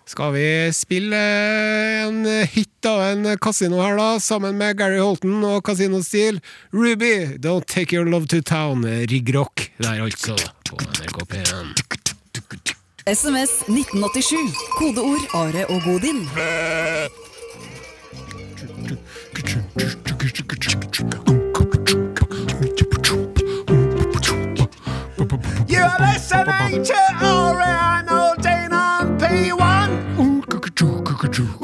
Skal vi spille eh, en hit av en kasino her, da? Sammen med Gary Holton og Casino Steel. Ruby, Don't Take Your Love To Town. eh, Rigg Rock. Der, altså. På NRK P1. SMS 1987. Kodeord Are og Odin. You're listening to Orion Odin on P1.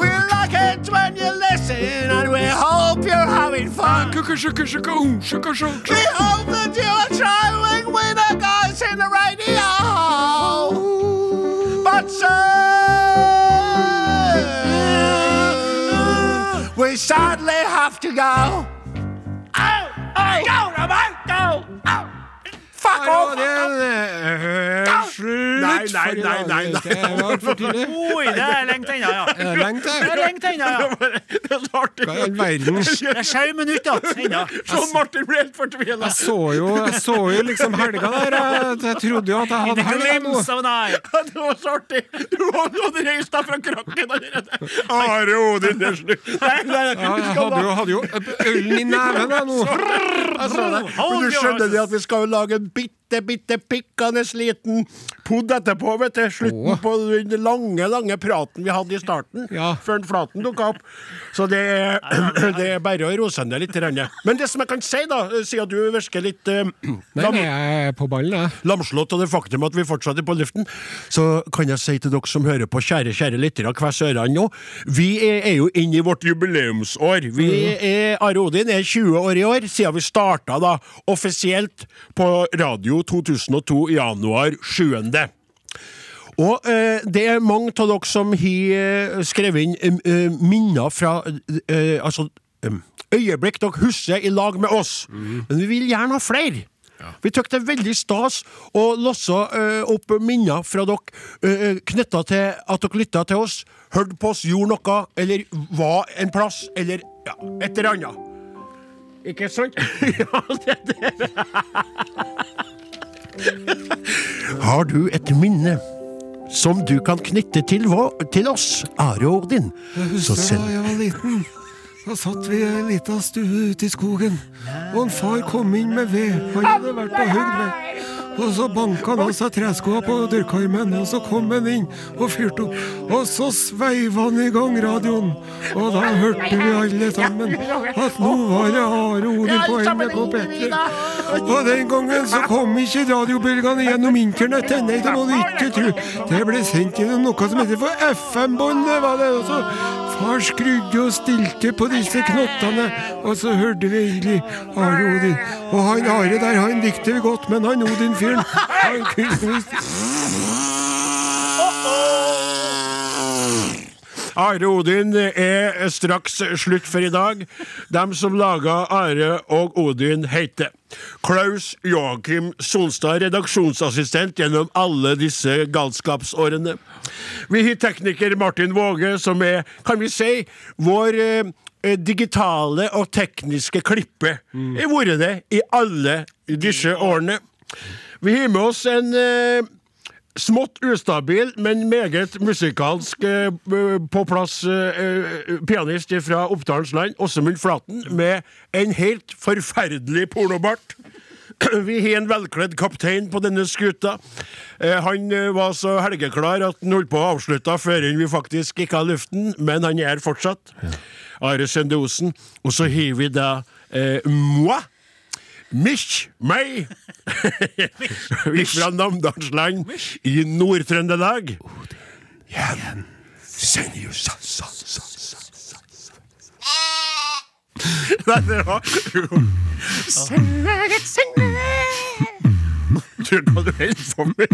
We like it when you listen, and we hope you're having fun. We hope that you are traveling with the guys in the radio. But sir, we sadly have to go. Ow! Ow! Go, Robert! Go! Ow! Fuck off! Nei, nei, nei, nei, nei. Det var for tidlig. Oi, det er lengt ennå, ja. Er det lengt, Det er det? lengt ennå, ja. Det er så artig. Hva i all verden? Det er sju minutter ennå. Sånn Martin ble helt fortvila. Jeg så jo, jeg så jo liksom helga der. Jeg, jeg trodde jo at jeg In hadde the helga nå. glimpse of an eye. Det var så artig! Du hadde reist deg fra krakken allerede. Are Odin, det er slutt. Nei, nei, nei. Ja, jeg hadde jo, hadde jo ølen i neven jeg, nå. Jeg sa det. Men du skjønner det at vi skal jo lage en bitte, bitte pikkende liten pod etterpå, vet du. Slutten på den lange, lange praten vi hadde i starten, Ja. før den Flaten dukka opp. Så det er, det er bare å rose henne litt. grann. Men det som jeg kan si, da, siden du virker litt eh, Nei, lam- nei, jeg er på ballen, jeg. lamslått av det faktum at vi fortsatt er på luften, så kan jeg si til dere som hører på, kjære, kjære lyttere, hver ørene nå, vi er, er jo inne i vårt jubileumsår. Vi er, Are Odin er 20 år i år, siden vi starta da, offisielt på Radio 2002 i januar 7. Og eh, det er mange av dere som har eh, skrevet inn em, eh, minner fra eh, Altså em, øyeblikk dere husker i lag med oss. Men vi vil gjerne ha flere. Vi syns det er veldig stas å losse eh, opp minner fra dere uh, knytta til at dere lytta til oss, hørte på oss, gjorde noe, eller var en plass, eller ja, et eller annet. Ikke sant? ja, det, det. Har du et minne? som du kan knytte til, vå- til oss, Are og Odin. Så send jeg var liten. Da satt vi i ei lita stue ute i skogen, og en far kom inn med ved. Han hadde vært og hugd ved. Og så banka han av seg treskoa på dørkarmen, og så kom han inn og fyrte opp. Og så sveiva han i gang radioen, og da hørte vi alle sammen at nå var det Are Odin på NRK P3. Og den gangen så kom ikke radiobølgene gjennom internett. Nei, det må du ikke tro. Det ble sendt gjennom noe som heter for FM-båndet, var det også. Far skrudde og stilte på disse knottene, og så hørte vi egentlig Are Odin. Og han Are der, han likte vi godt, men han Odin-fyren, han kunne visst Are Odin er straks slutt for i dag. Dem som laga Are og Odin, heter Klaus Joakim Sonstad, redaksjonsassistent gjennom alle disse galskapsårene. Vi har tekniker Martin Våge, som er, kan vi si, vår eh, digitale og tekniske klippe. Har vært det i alle disse årene. Vi har med oss en eh, Smått ustabil, men meget musikalsk eh, b- på plass eh, eh, pianist fra Oppdalens land, Åsemund Flaten, med en helt forferdelig pornobart. Vi har en velkledd kaptein på denne skuta. Eh, Han eh, var så helgeklar at han holdt på å avslutte før vi faktisk gikk av luften, men han er her fortsatt. Are Sende Osen. Og så har vi da eh, moi. Mich, meg! Fra Namdalsland i Nord-Trøndelag. Igjen sender jo sa, sa, sa, sa, sa, sa, sa. Nei, det var Tror du hva du holder på med?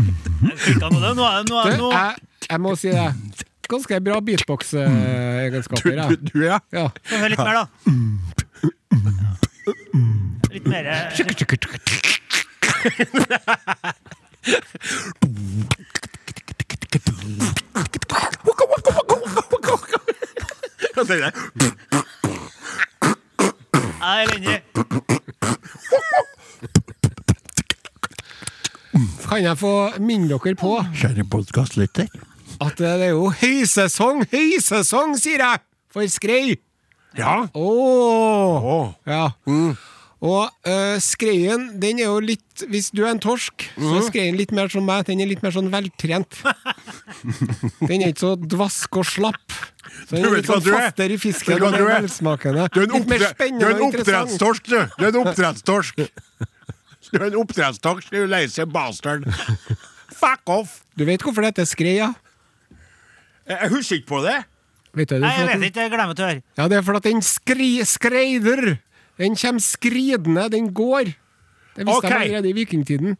Klikka på det. Nå er det nå er det Du, noe jeg, jeg må si det. Ganske bra Mm. Du, beatbox-egenskaper. jeg. du, du ja. Ja. Få høre litt mer, da. Litt mer eh, Ja, det er det. Jeg er enig. Kan jeg få minne dere på Kjære podkastlytter. at eh, det er jo høysesong, høysesong, sier jeg, for skrei! Ja. Åh Å, Ja. Mm. Og eh, skreien, den er jo litt Hvis du er en torsk, så er Mm. skreien litt mer som meg. Den er litt mer sånn veltrent. den er ikke så dvask og slapp. Så den Du er vet litt sånn hva du er. fastere i Vet fisken du hva og du mer er? velsmakende. Du er en, Litt mer oppdre du er spennende en og interessant. oppdrettstorsk, du! Du er en oppdrettstorsk. Du er en oppdrettstorsk, du leise bastard. Fuck off! Du vet hvorfor det heter skrei, ja? Jeg jeg husker ikke på det. Vet du, det Nei, er jeg for at vet den- ikke. Jeg glemmer til å høre. Ja, det er fordi at den skri, skreider. Den kommer skridende, den går. Det visste Ok. de allerede i vikingtiden.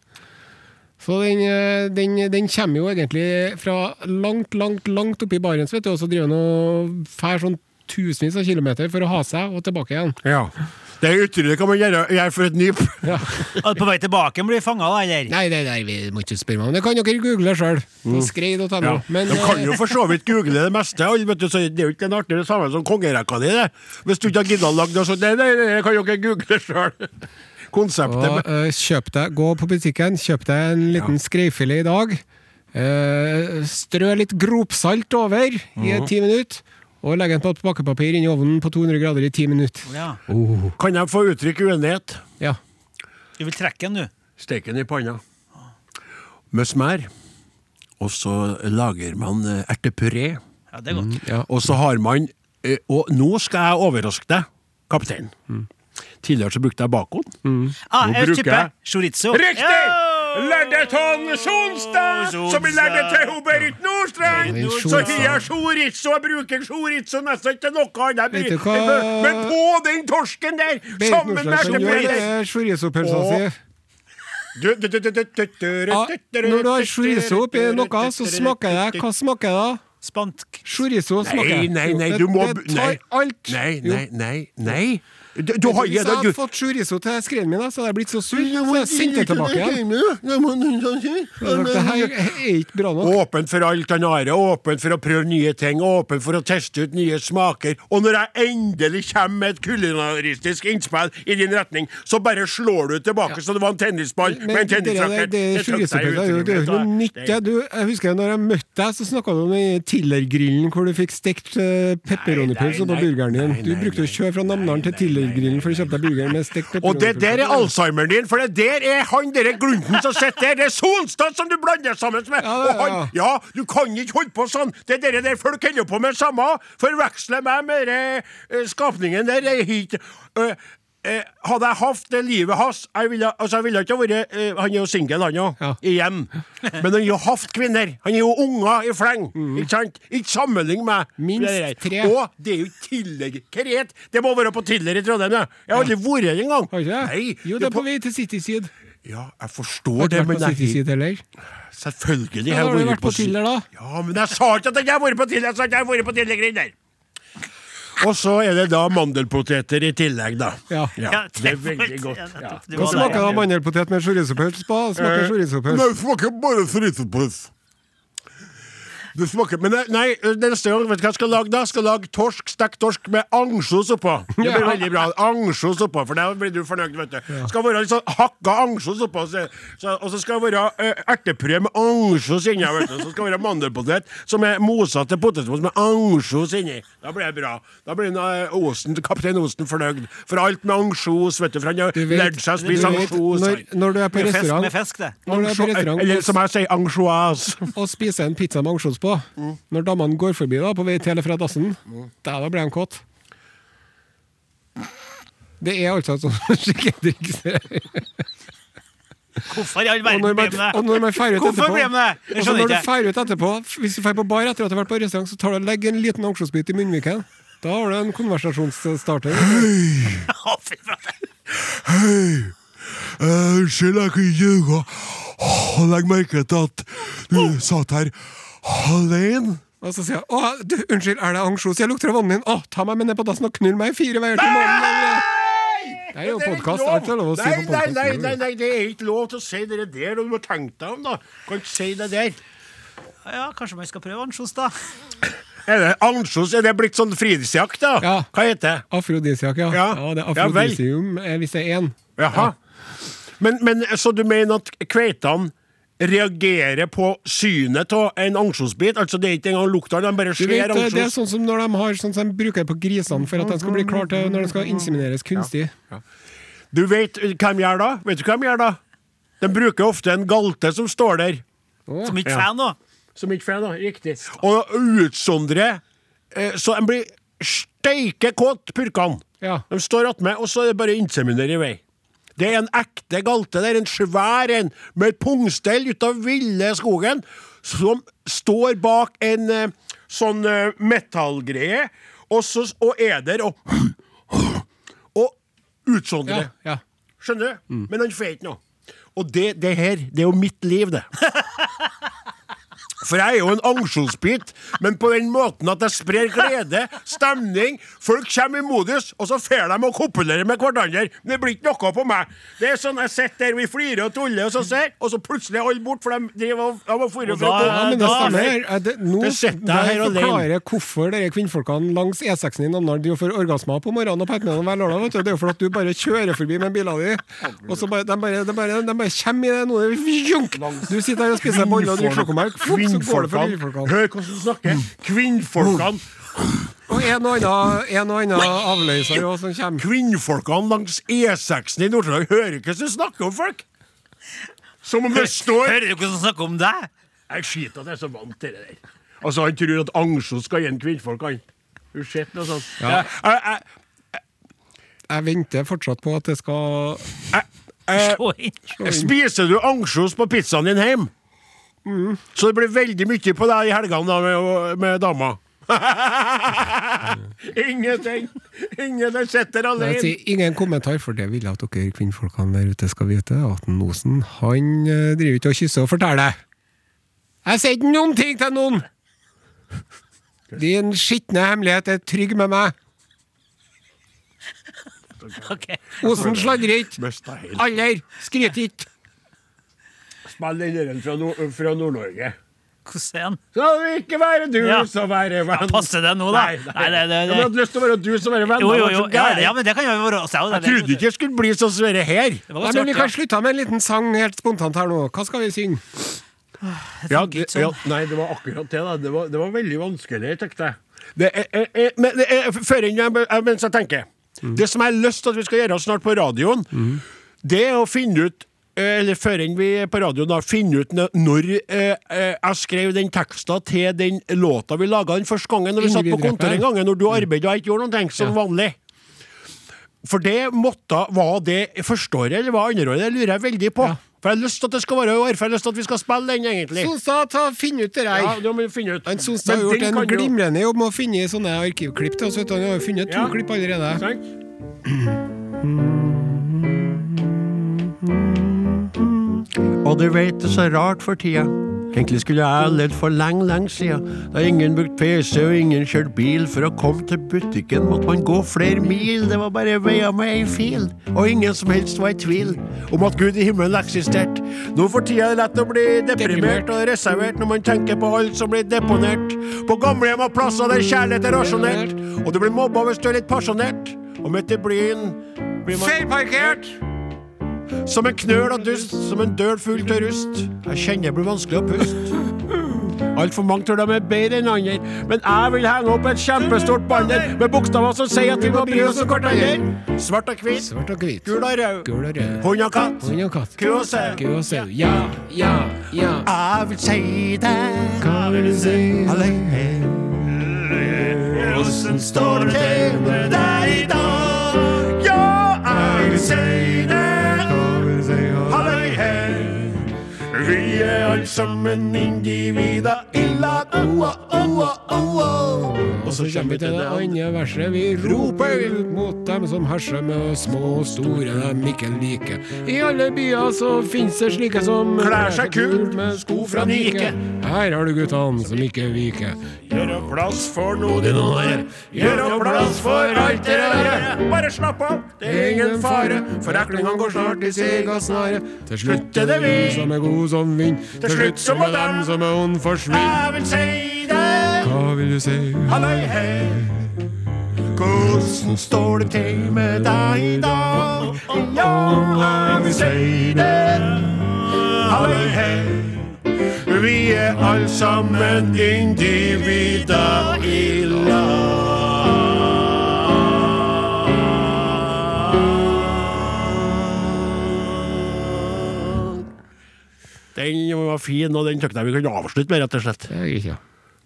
Så den, eh, den, den kommer jo egentlig fra langt, langt, langt oppe i Barents, vet du, og så driver den og fær sånn tusenvis av kilometer for å ha seg og tilbake igjen. Ja. Det er utrolig hva man gjør, gjør for et nyp. Og på vei tilbake blir fanga, da, eller? Nei, det der vi må ikke spørre meg om. Det kan dere google sjøl. På skrei.no. Men De kan eh, jo for så vidt google det meste, alle, vet du, så det er jo ikke en artigere samme som kongerekka di, det. Hvis du ikke har gidda å lage noe sånt. Nei, nei, nei, det kan jo ikke google sjøl. Konseptet Og eh, kjøp deg, gå på butikken, kjøp deg en liten skreifilet i dag. Eh, strø litt gropsalt over i ti minutter. Og legg den på et pakkepapir inn i ovnen på 200 grader i ti minutter. Ja. Kan jeg få uttrykke uenighet? Ja. Du vil trekke den, du. Steken i panna. Med smør. Og så lager man eh, ertepuré. Ja, det er godt. Og så har man eh, Og nå skal jeg overraske deg, kaptein. Mm. Tidligere så brukte jeg bacon. Ah, Nå jeg bruker tipper jeg- chorizo. Riktig! Ja! Lerdeton Sonstad, som vi lærte til hun Berit Nordstrand! Ja, Så har jeg chorizo, jeg bruker chorizo nesten til noe annet. Vet du Jeg hva? bruker- Men på den torsken der, Berit sammen med Nordstrand som gjør det, ertepuré er chorizo-pølsa si. Du- du- du- du- du- du- du- Ja, Ah, når du har chorizo oppi noe, så smaker det. Hva smaker det da? Spansk. Chorizo smaker Nei, nei, nei, Jo, du må Det, det tar nei. alt. Nei, Jo. nei, nei. nei. Du, du har Hvis jeg gjedda hadde fått chorizo til skreien min, da, så hadde jeg blitt så sur. Så hadde jeg sendt det tilbake igjen. Det her er ikke bra nok. Åpen for alt han har, åpen for å prøve nye ting, åpen for å teste ut nye smaker. Og når jeg endelig kommer med et kulinaristisk innspill i din retning, så bare slår du tilbake som det var en tennisball med en det, det, tennisraket. det, Jeg trakk deg chorizo-pølsa er jo- utrolig, det er jo ikke vet noe du. nytt. Jeg, du, jeg husker når jeg møtte deg, så snakka du om den Tillergrillen hvor du fikk stekt eh, pepperoni-pølse Nei, på nei, burgeren din. nei, Du nei, brukte å nei, kjøre fra Namdalen til Tillergrillen for å kjøpe deg burger med stekt Og det der er pepperoni-pølse. altså- alzheimeren din, for det der er han derre glunten som sitter der. Det er Solstad som du blander sammen med! Ja, ja, og han, ja. ja, du kan ikke holde på sånn! Det er det der folk holder på med samme! Forveksler meg med den skapningen der. Jeg, har ikke- øh, øh, hadde jeg hatt det livet hans Jeg ville, altså, jeg ville ikke vært øh, Han er jo singel, han òg. Ja. Igjen. Men han har jo hatt kvinner. Han er jo unger i fleng. Ikke sant? Ikke sammenlign meg. Mhm. Minst Det der. tre. Og det er jo Tiller Kret! Det må være på Tiller i Trondheim, ja. Jeg har aldri vært der engang. Har ikke Nei, det? Jo, det er på vei til City Side. Ja, jeg Har forstår du det, vært men på City jeg, Side heller? selvfølgelig Ja, har da har du jeg vært på Tiller, da. Ja, men jeg sa ikke at jeg har vært på Tiller! Jeg sa at jeg har vært på Tillergrind der! Og så er det da mandelpoteter i tillegg, da. Ja. Det er veldig godt. Ja. Du Hva var smaker der. det av mandelpotet med chorizo-pølse på? Smaker chorizo-pølse. smaker bare fritidspølse. Du smaker, men nei, nei, neste gang, vet du hva jeg skal lage da? Jeg skal lage torsk, stekt torsk med ansjos oppå. Det blir veldig bra. Ansjos oppå, for da blir du fornøyd, vet du. Skal være litt sånn hakka ansjos oppå, så, så, og så skal det være eh, erteprø med ansjos inni, vet du. Så skal det være mandelpotet som er mosa til potetmos med ansjos inni. Da blir det bra. Da blir den, eh, Osen, kaptein Osen fornøyd. For alt med ansjos, vet du, for han har Du vet- lært seg å spise du vet, ansjos. når, når du er på Med fisk, med restaurant fisk, det. Når du er på restaurant Eller som jeg sier, ansjoise. og spiser en pizza med ansjos på, når damene går forbi da på vei til eller fra dassen, da da blir de kåte. Det er altså et sånt skikkelig Hvorfor i all Og når man, verden ble med det? og når man fer ut Hvorfor etterpå ble det med det? Jeg Og så skjønner når du ikke. fer ut etterpå Hvis du fer på bar etter at du har vært på restaurant, så tar du og legger en liten ansjosbit i munnviken. Da har du en konversasjonsstarter. Å, fy flate. Eh, Unnskyld, jeg kunne ikke unngå å legge merke til at du satt her alene. Og så sier jeg Å, du, unnskyld, er det ansjos? Jeg lukter av vannet din. Å, ta meg med ned på dassen og knull meg fire veier til månen. Det er jo ikke podkast. lov. Alt er lov å si nei, på nei, nei, podkast. nei, nei, det er ikke lov til å si det der, og du må tenke deg om, da. Kan ikke si det der. Ja, kanskje man skal prøve ansjos, da. Er det ansjos? Er det blitt sånn fritidsjakt, da? Ja. Hva heter det? Afrodisiak, ja. ja. Ja. det er Ja, vel. afrodisium eh, hvis det er én. Jaha. Men, men så du mener at kveitene reagerer på synet av en ansjosbit? Altså, det er ikke engang lukta, de bare Du vet, ser eh, det er ansjos? sånn som når de har sånn som de bruker på grisene for at de skal bli klar til når de skal insemineres kunstig. Du vet eh, hva de gjør da? Vet du hva de gjør da? De bruker ofte en galte som står der. Som ikke Ja. fan nå. Som ikke får da, riktig. Og utsondre, eh, så de blir steike kåt, purkene. Ja. De står attmed, og så er det bare å inseminere i vei. Det er en ekte galte, det er en svær en, med et pungstell ut av ville skogen, som står bak en eh, sånn eh, metallgreie, og, så, og er der og, og Ja, utsondrer. ja. Skjønner du? Men han får ikke noe. Og det, det her, det er jo mitt liv, det. For jeg er jo en ansjosbit, men på den måten at jeg sprer glede, stemning. Folk kommer i modus, og så får de å kopulere med hverandre. Men det blir ikke noe på meg. Det er sånn jeg sitter der, vi flirer og tuller, og så ser, og så plutselig er alle borte, for de driver og, de har fôret Og fra da- Ja, men det da- stemmer. Eh, Det, nå Det setter jeg det her alene. forklarer hvorfor dere kvinnfolkene langs E6-en i Namdalen driver og får orgasmer på morgenen og på ettermiddagen hver lørdag. Vet du. Det er jo fordi at du bare kjører forbi med bilen din, og så bare, de, bare, de, bare, de bare kommer i det nå. det er junk. Du sitter her og spiser en bolle og drikker sjokomelk, Fup, så går det for kvinnfolkene. Kvinnfolkene. Hør hvordan du snakker. Kvinnfolkene. Og en og annen, en og annen avløser jo som kommer. Kvinnfolkene langs E6-en i Nord-Trøndelag hører ikke hvordan du snakker om folk. Som om det står Hører du ikke som snakker om deg? Jeg skiter at jeg er så vant til det der. Altså, han tror at Ansjo skal gi en kvinnfolk, han. Har du sett noe sånt? Jeg, jeg, Jeg venter fortsatt på at det skal Eh, Slå inn. jeg, spiser du ansjos på pizzaen din hjem? Så det blir veldig mye på deg i helgene da, med, med dama. Ingenting! Ingen jeg sitter Jeg alene. sier ingen kommentar, for det vil jeg at dere kvinnfolkene der ute skal vite. At en Osen han eh, driver ikke og kysser og forteller. Jeg sier ikke noen ting til noen! Din skitne hemmelighet er trygg med meg. Ok. Osen sladrer ikke. Mista helt. Aller skryter ikke. Spill den der fra, Nord- fra Nord-Norge. Hvordan er han? Skal det ikke være du Ja. som være venn? Ja, passer det nå, da? Nei, nei. Nei, det- det- Jeg hadde lyst til å være du som være venn. Jo, Det jo, var jo. så Ja, gærent. ja, men det kan jo være oss òg. Jeg trodde ikke jeg skulle bli sånn som dette her. Det var Nei, godt men Vi kan svart. slutte med en liten sang helt spontant her nå. Hva skal vi synge? Ja, tenker det, ikke ja, sånn. nei, det var akkurat det. da Det var, det var veldig vanskelig, tenkte jeg. Det er, er, er, men det er, før jeg, jeg- mens jeg tenker Det som jeg har lyst til at vi skal gjøre snart på radioen, det er å finne ut eh, eller før enn vi på radioen da finne ut når- når eh, eh, jeg skrev den teksta til den låta vi laga den første gangen når vi satt på Individreper. kontoret en gang, når du arbeidet og jeg ikke gjorde noen ting, som vanlig. For det måtte Var det første året eller var det andre året? Det lurer jeg veldig på. For jeg har lyst til at det skal være i år, for jeg har lyst til at vi skal spille den, egentlig. Sonstad, ta finn ut det Ja, der. det må vi finne ut. Han Sonstad har Men gjort den en kan jo- glimrende jobb med å finne sånne arkivklipp til oss. vet du. Han har jo funnet to Ja. klipp allerede. Sant? Og du vet det er så rart for tida. Egentlig skulle jeg ha levd for lenge, lenge sida. Da ingen brukte PC og ingen kjørte bil. For å komme til butikken måtte man gå flere mil. Det var bare veier med ei fil. Og ingen som helst var i tvil om at Gud i himmelen eksisterte. Nå for tida er det lett å bli deprimert og reservert når man tenker på alt som blir deponert. På gamlehjem og plasser der kjærlighet er rasjonert. Og du blir mobba hvis du er litt pasjonert. Og midt i blyen blir man Feilparkert! som en knøl av dust, som en døl full til rust. Jeg kjenner det blir vanskelig å puste. Altfor mange tror de er bedre enn andre, men jeg vil henge opp et kjempestort banner med bokstaver som sier at vi må bry oss om hverandre. Svart og hvit, Svart og hvit. gul og rød, Gul og rød. hund og katt, Hund og katt. ku og sau. Ku og sau. Ja, ja, ja. Jeg vil si det, Hva vil du si? Åssen står det til med deg i dag? Ja, jeg vil si det. Halløy, hei. Vi er alt sammen individer i lag. Oa, oa, oa. Og så Kommer vi til det andre verset. Vi roper ut mot dem som herser med oss små og store dem ikke liker. I alle byer så finnes det slike som Klær seg kult med sko fra Nike. Her har du guttene som ikke viker. Gjøre plass for noe de nå er. Gjøre plass for alt det der. Bare slapp av, det er ingen fare. For eklingene går snart i seg og snare. Til slutt er det vi som er god som vind. Til slutt så må dem som er ond, forsvinne. Jeg vil si det. Hva vil du si? Halløy, hei. Hvordan står det til med deg i dag? Ja, jeg vil si det. Halløy, hei. Vi er alle sammen individer i lag. Den var fin, og den tøkte jeg vi kunne avslutte med, rett og slett.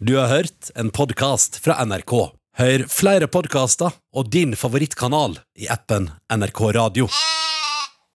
Du har hørt en podkast fra NRK. Hør flere podkaster og din favorittkanal i appen NRK Radio.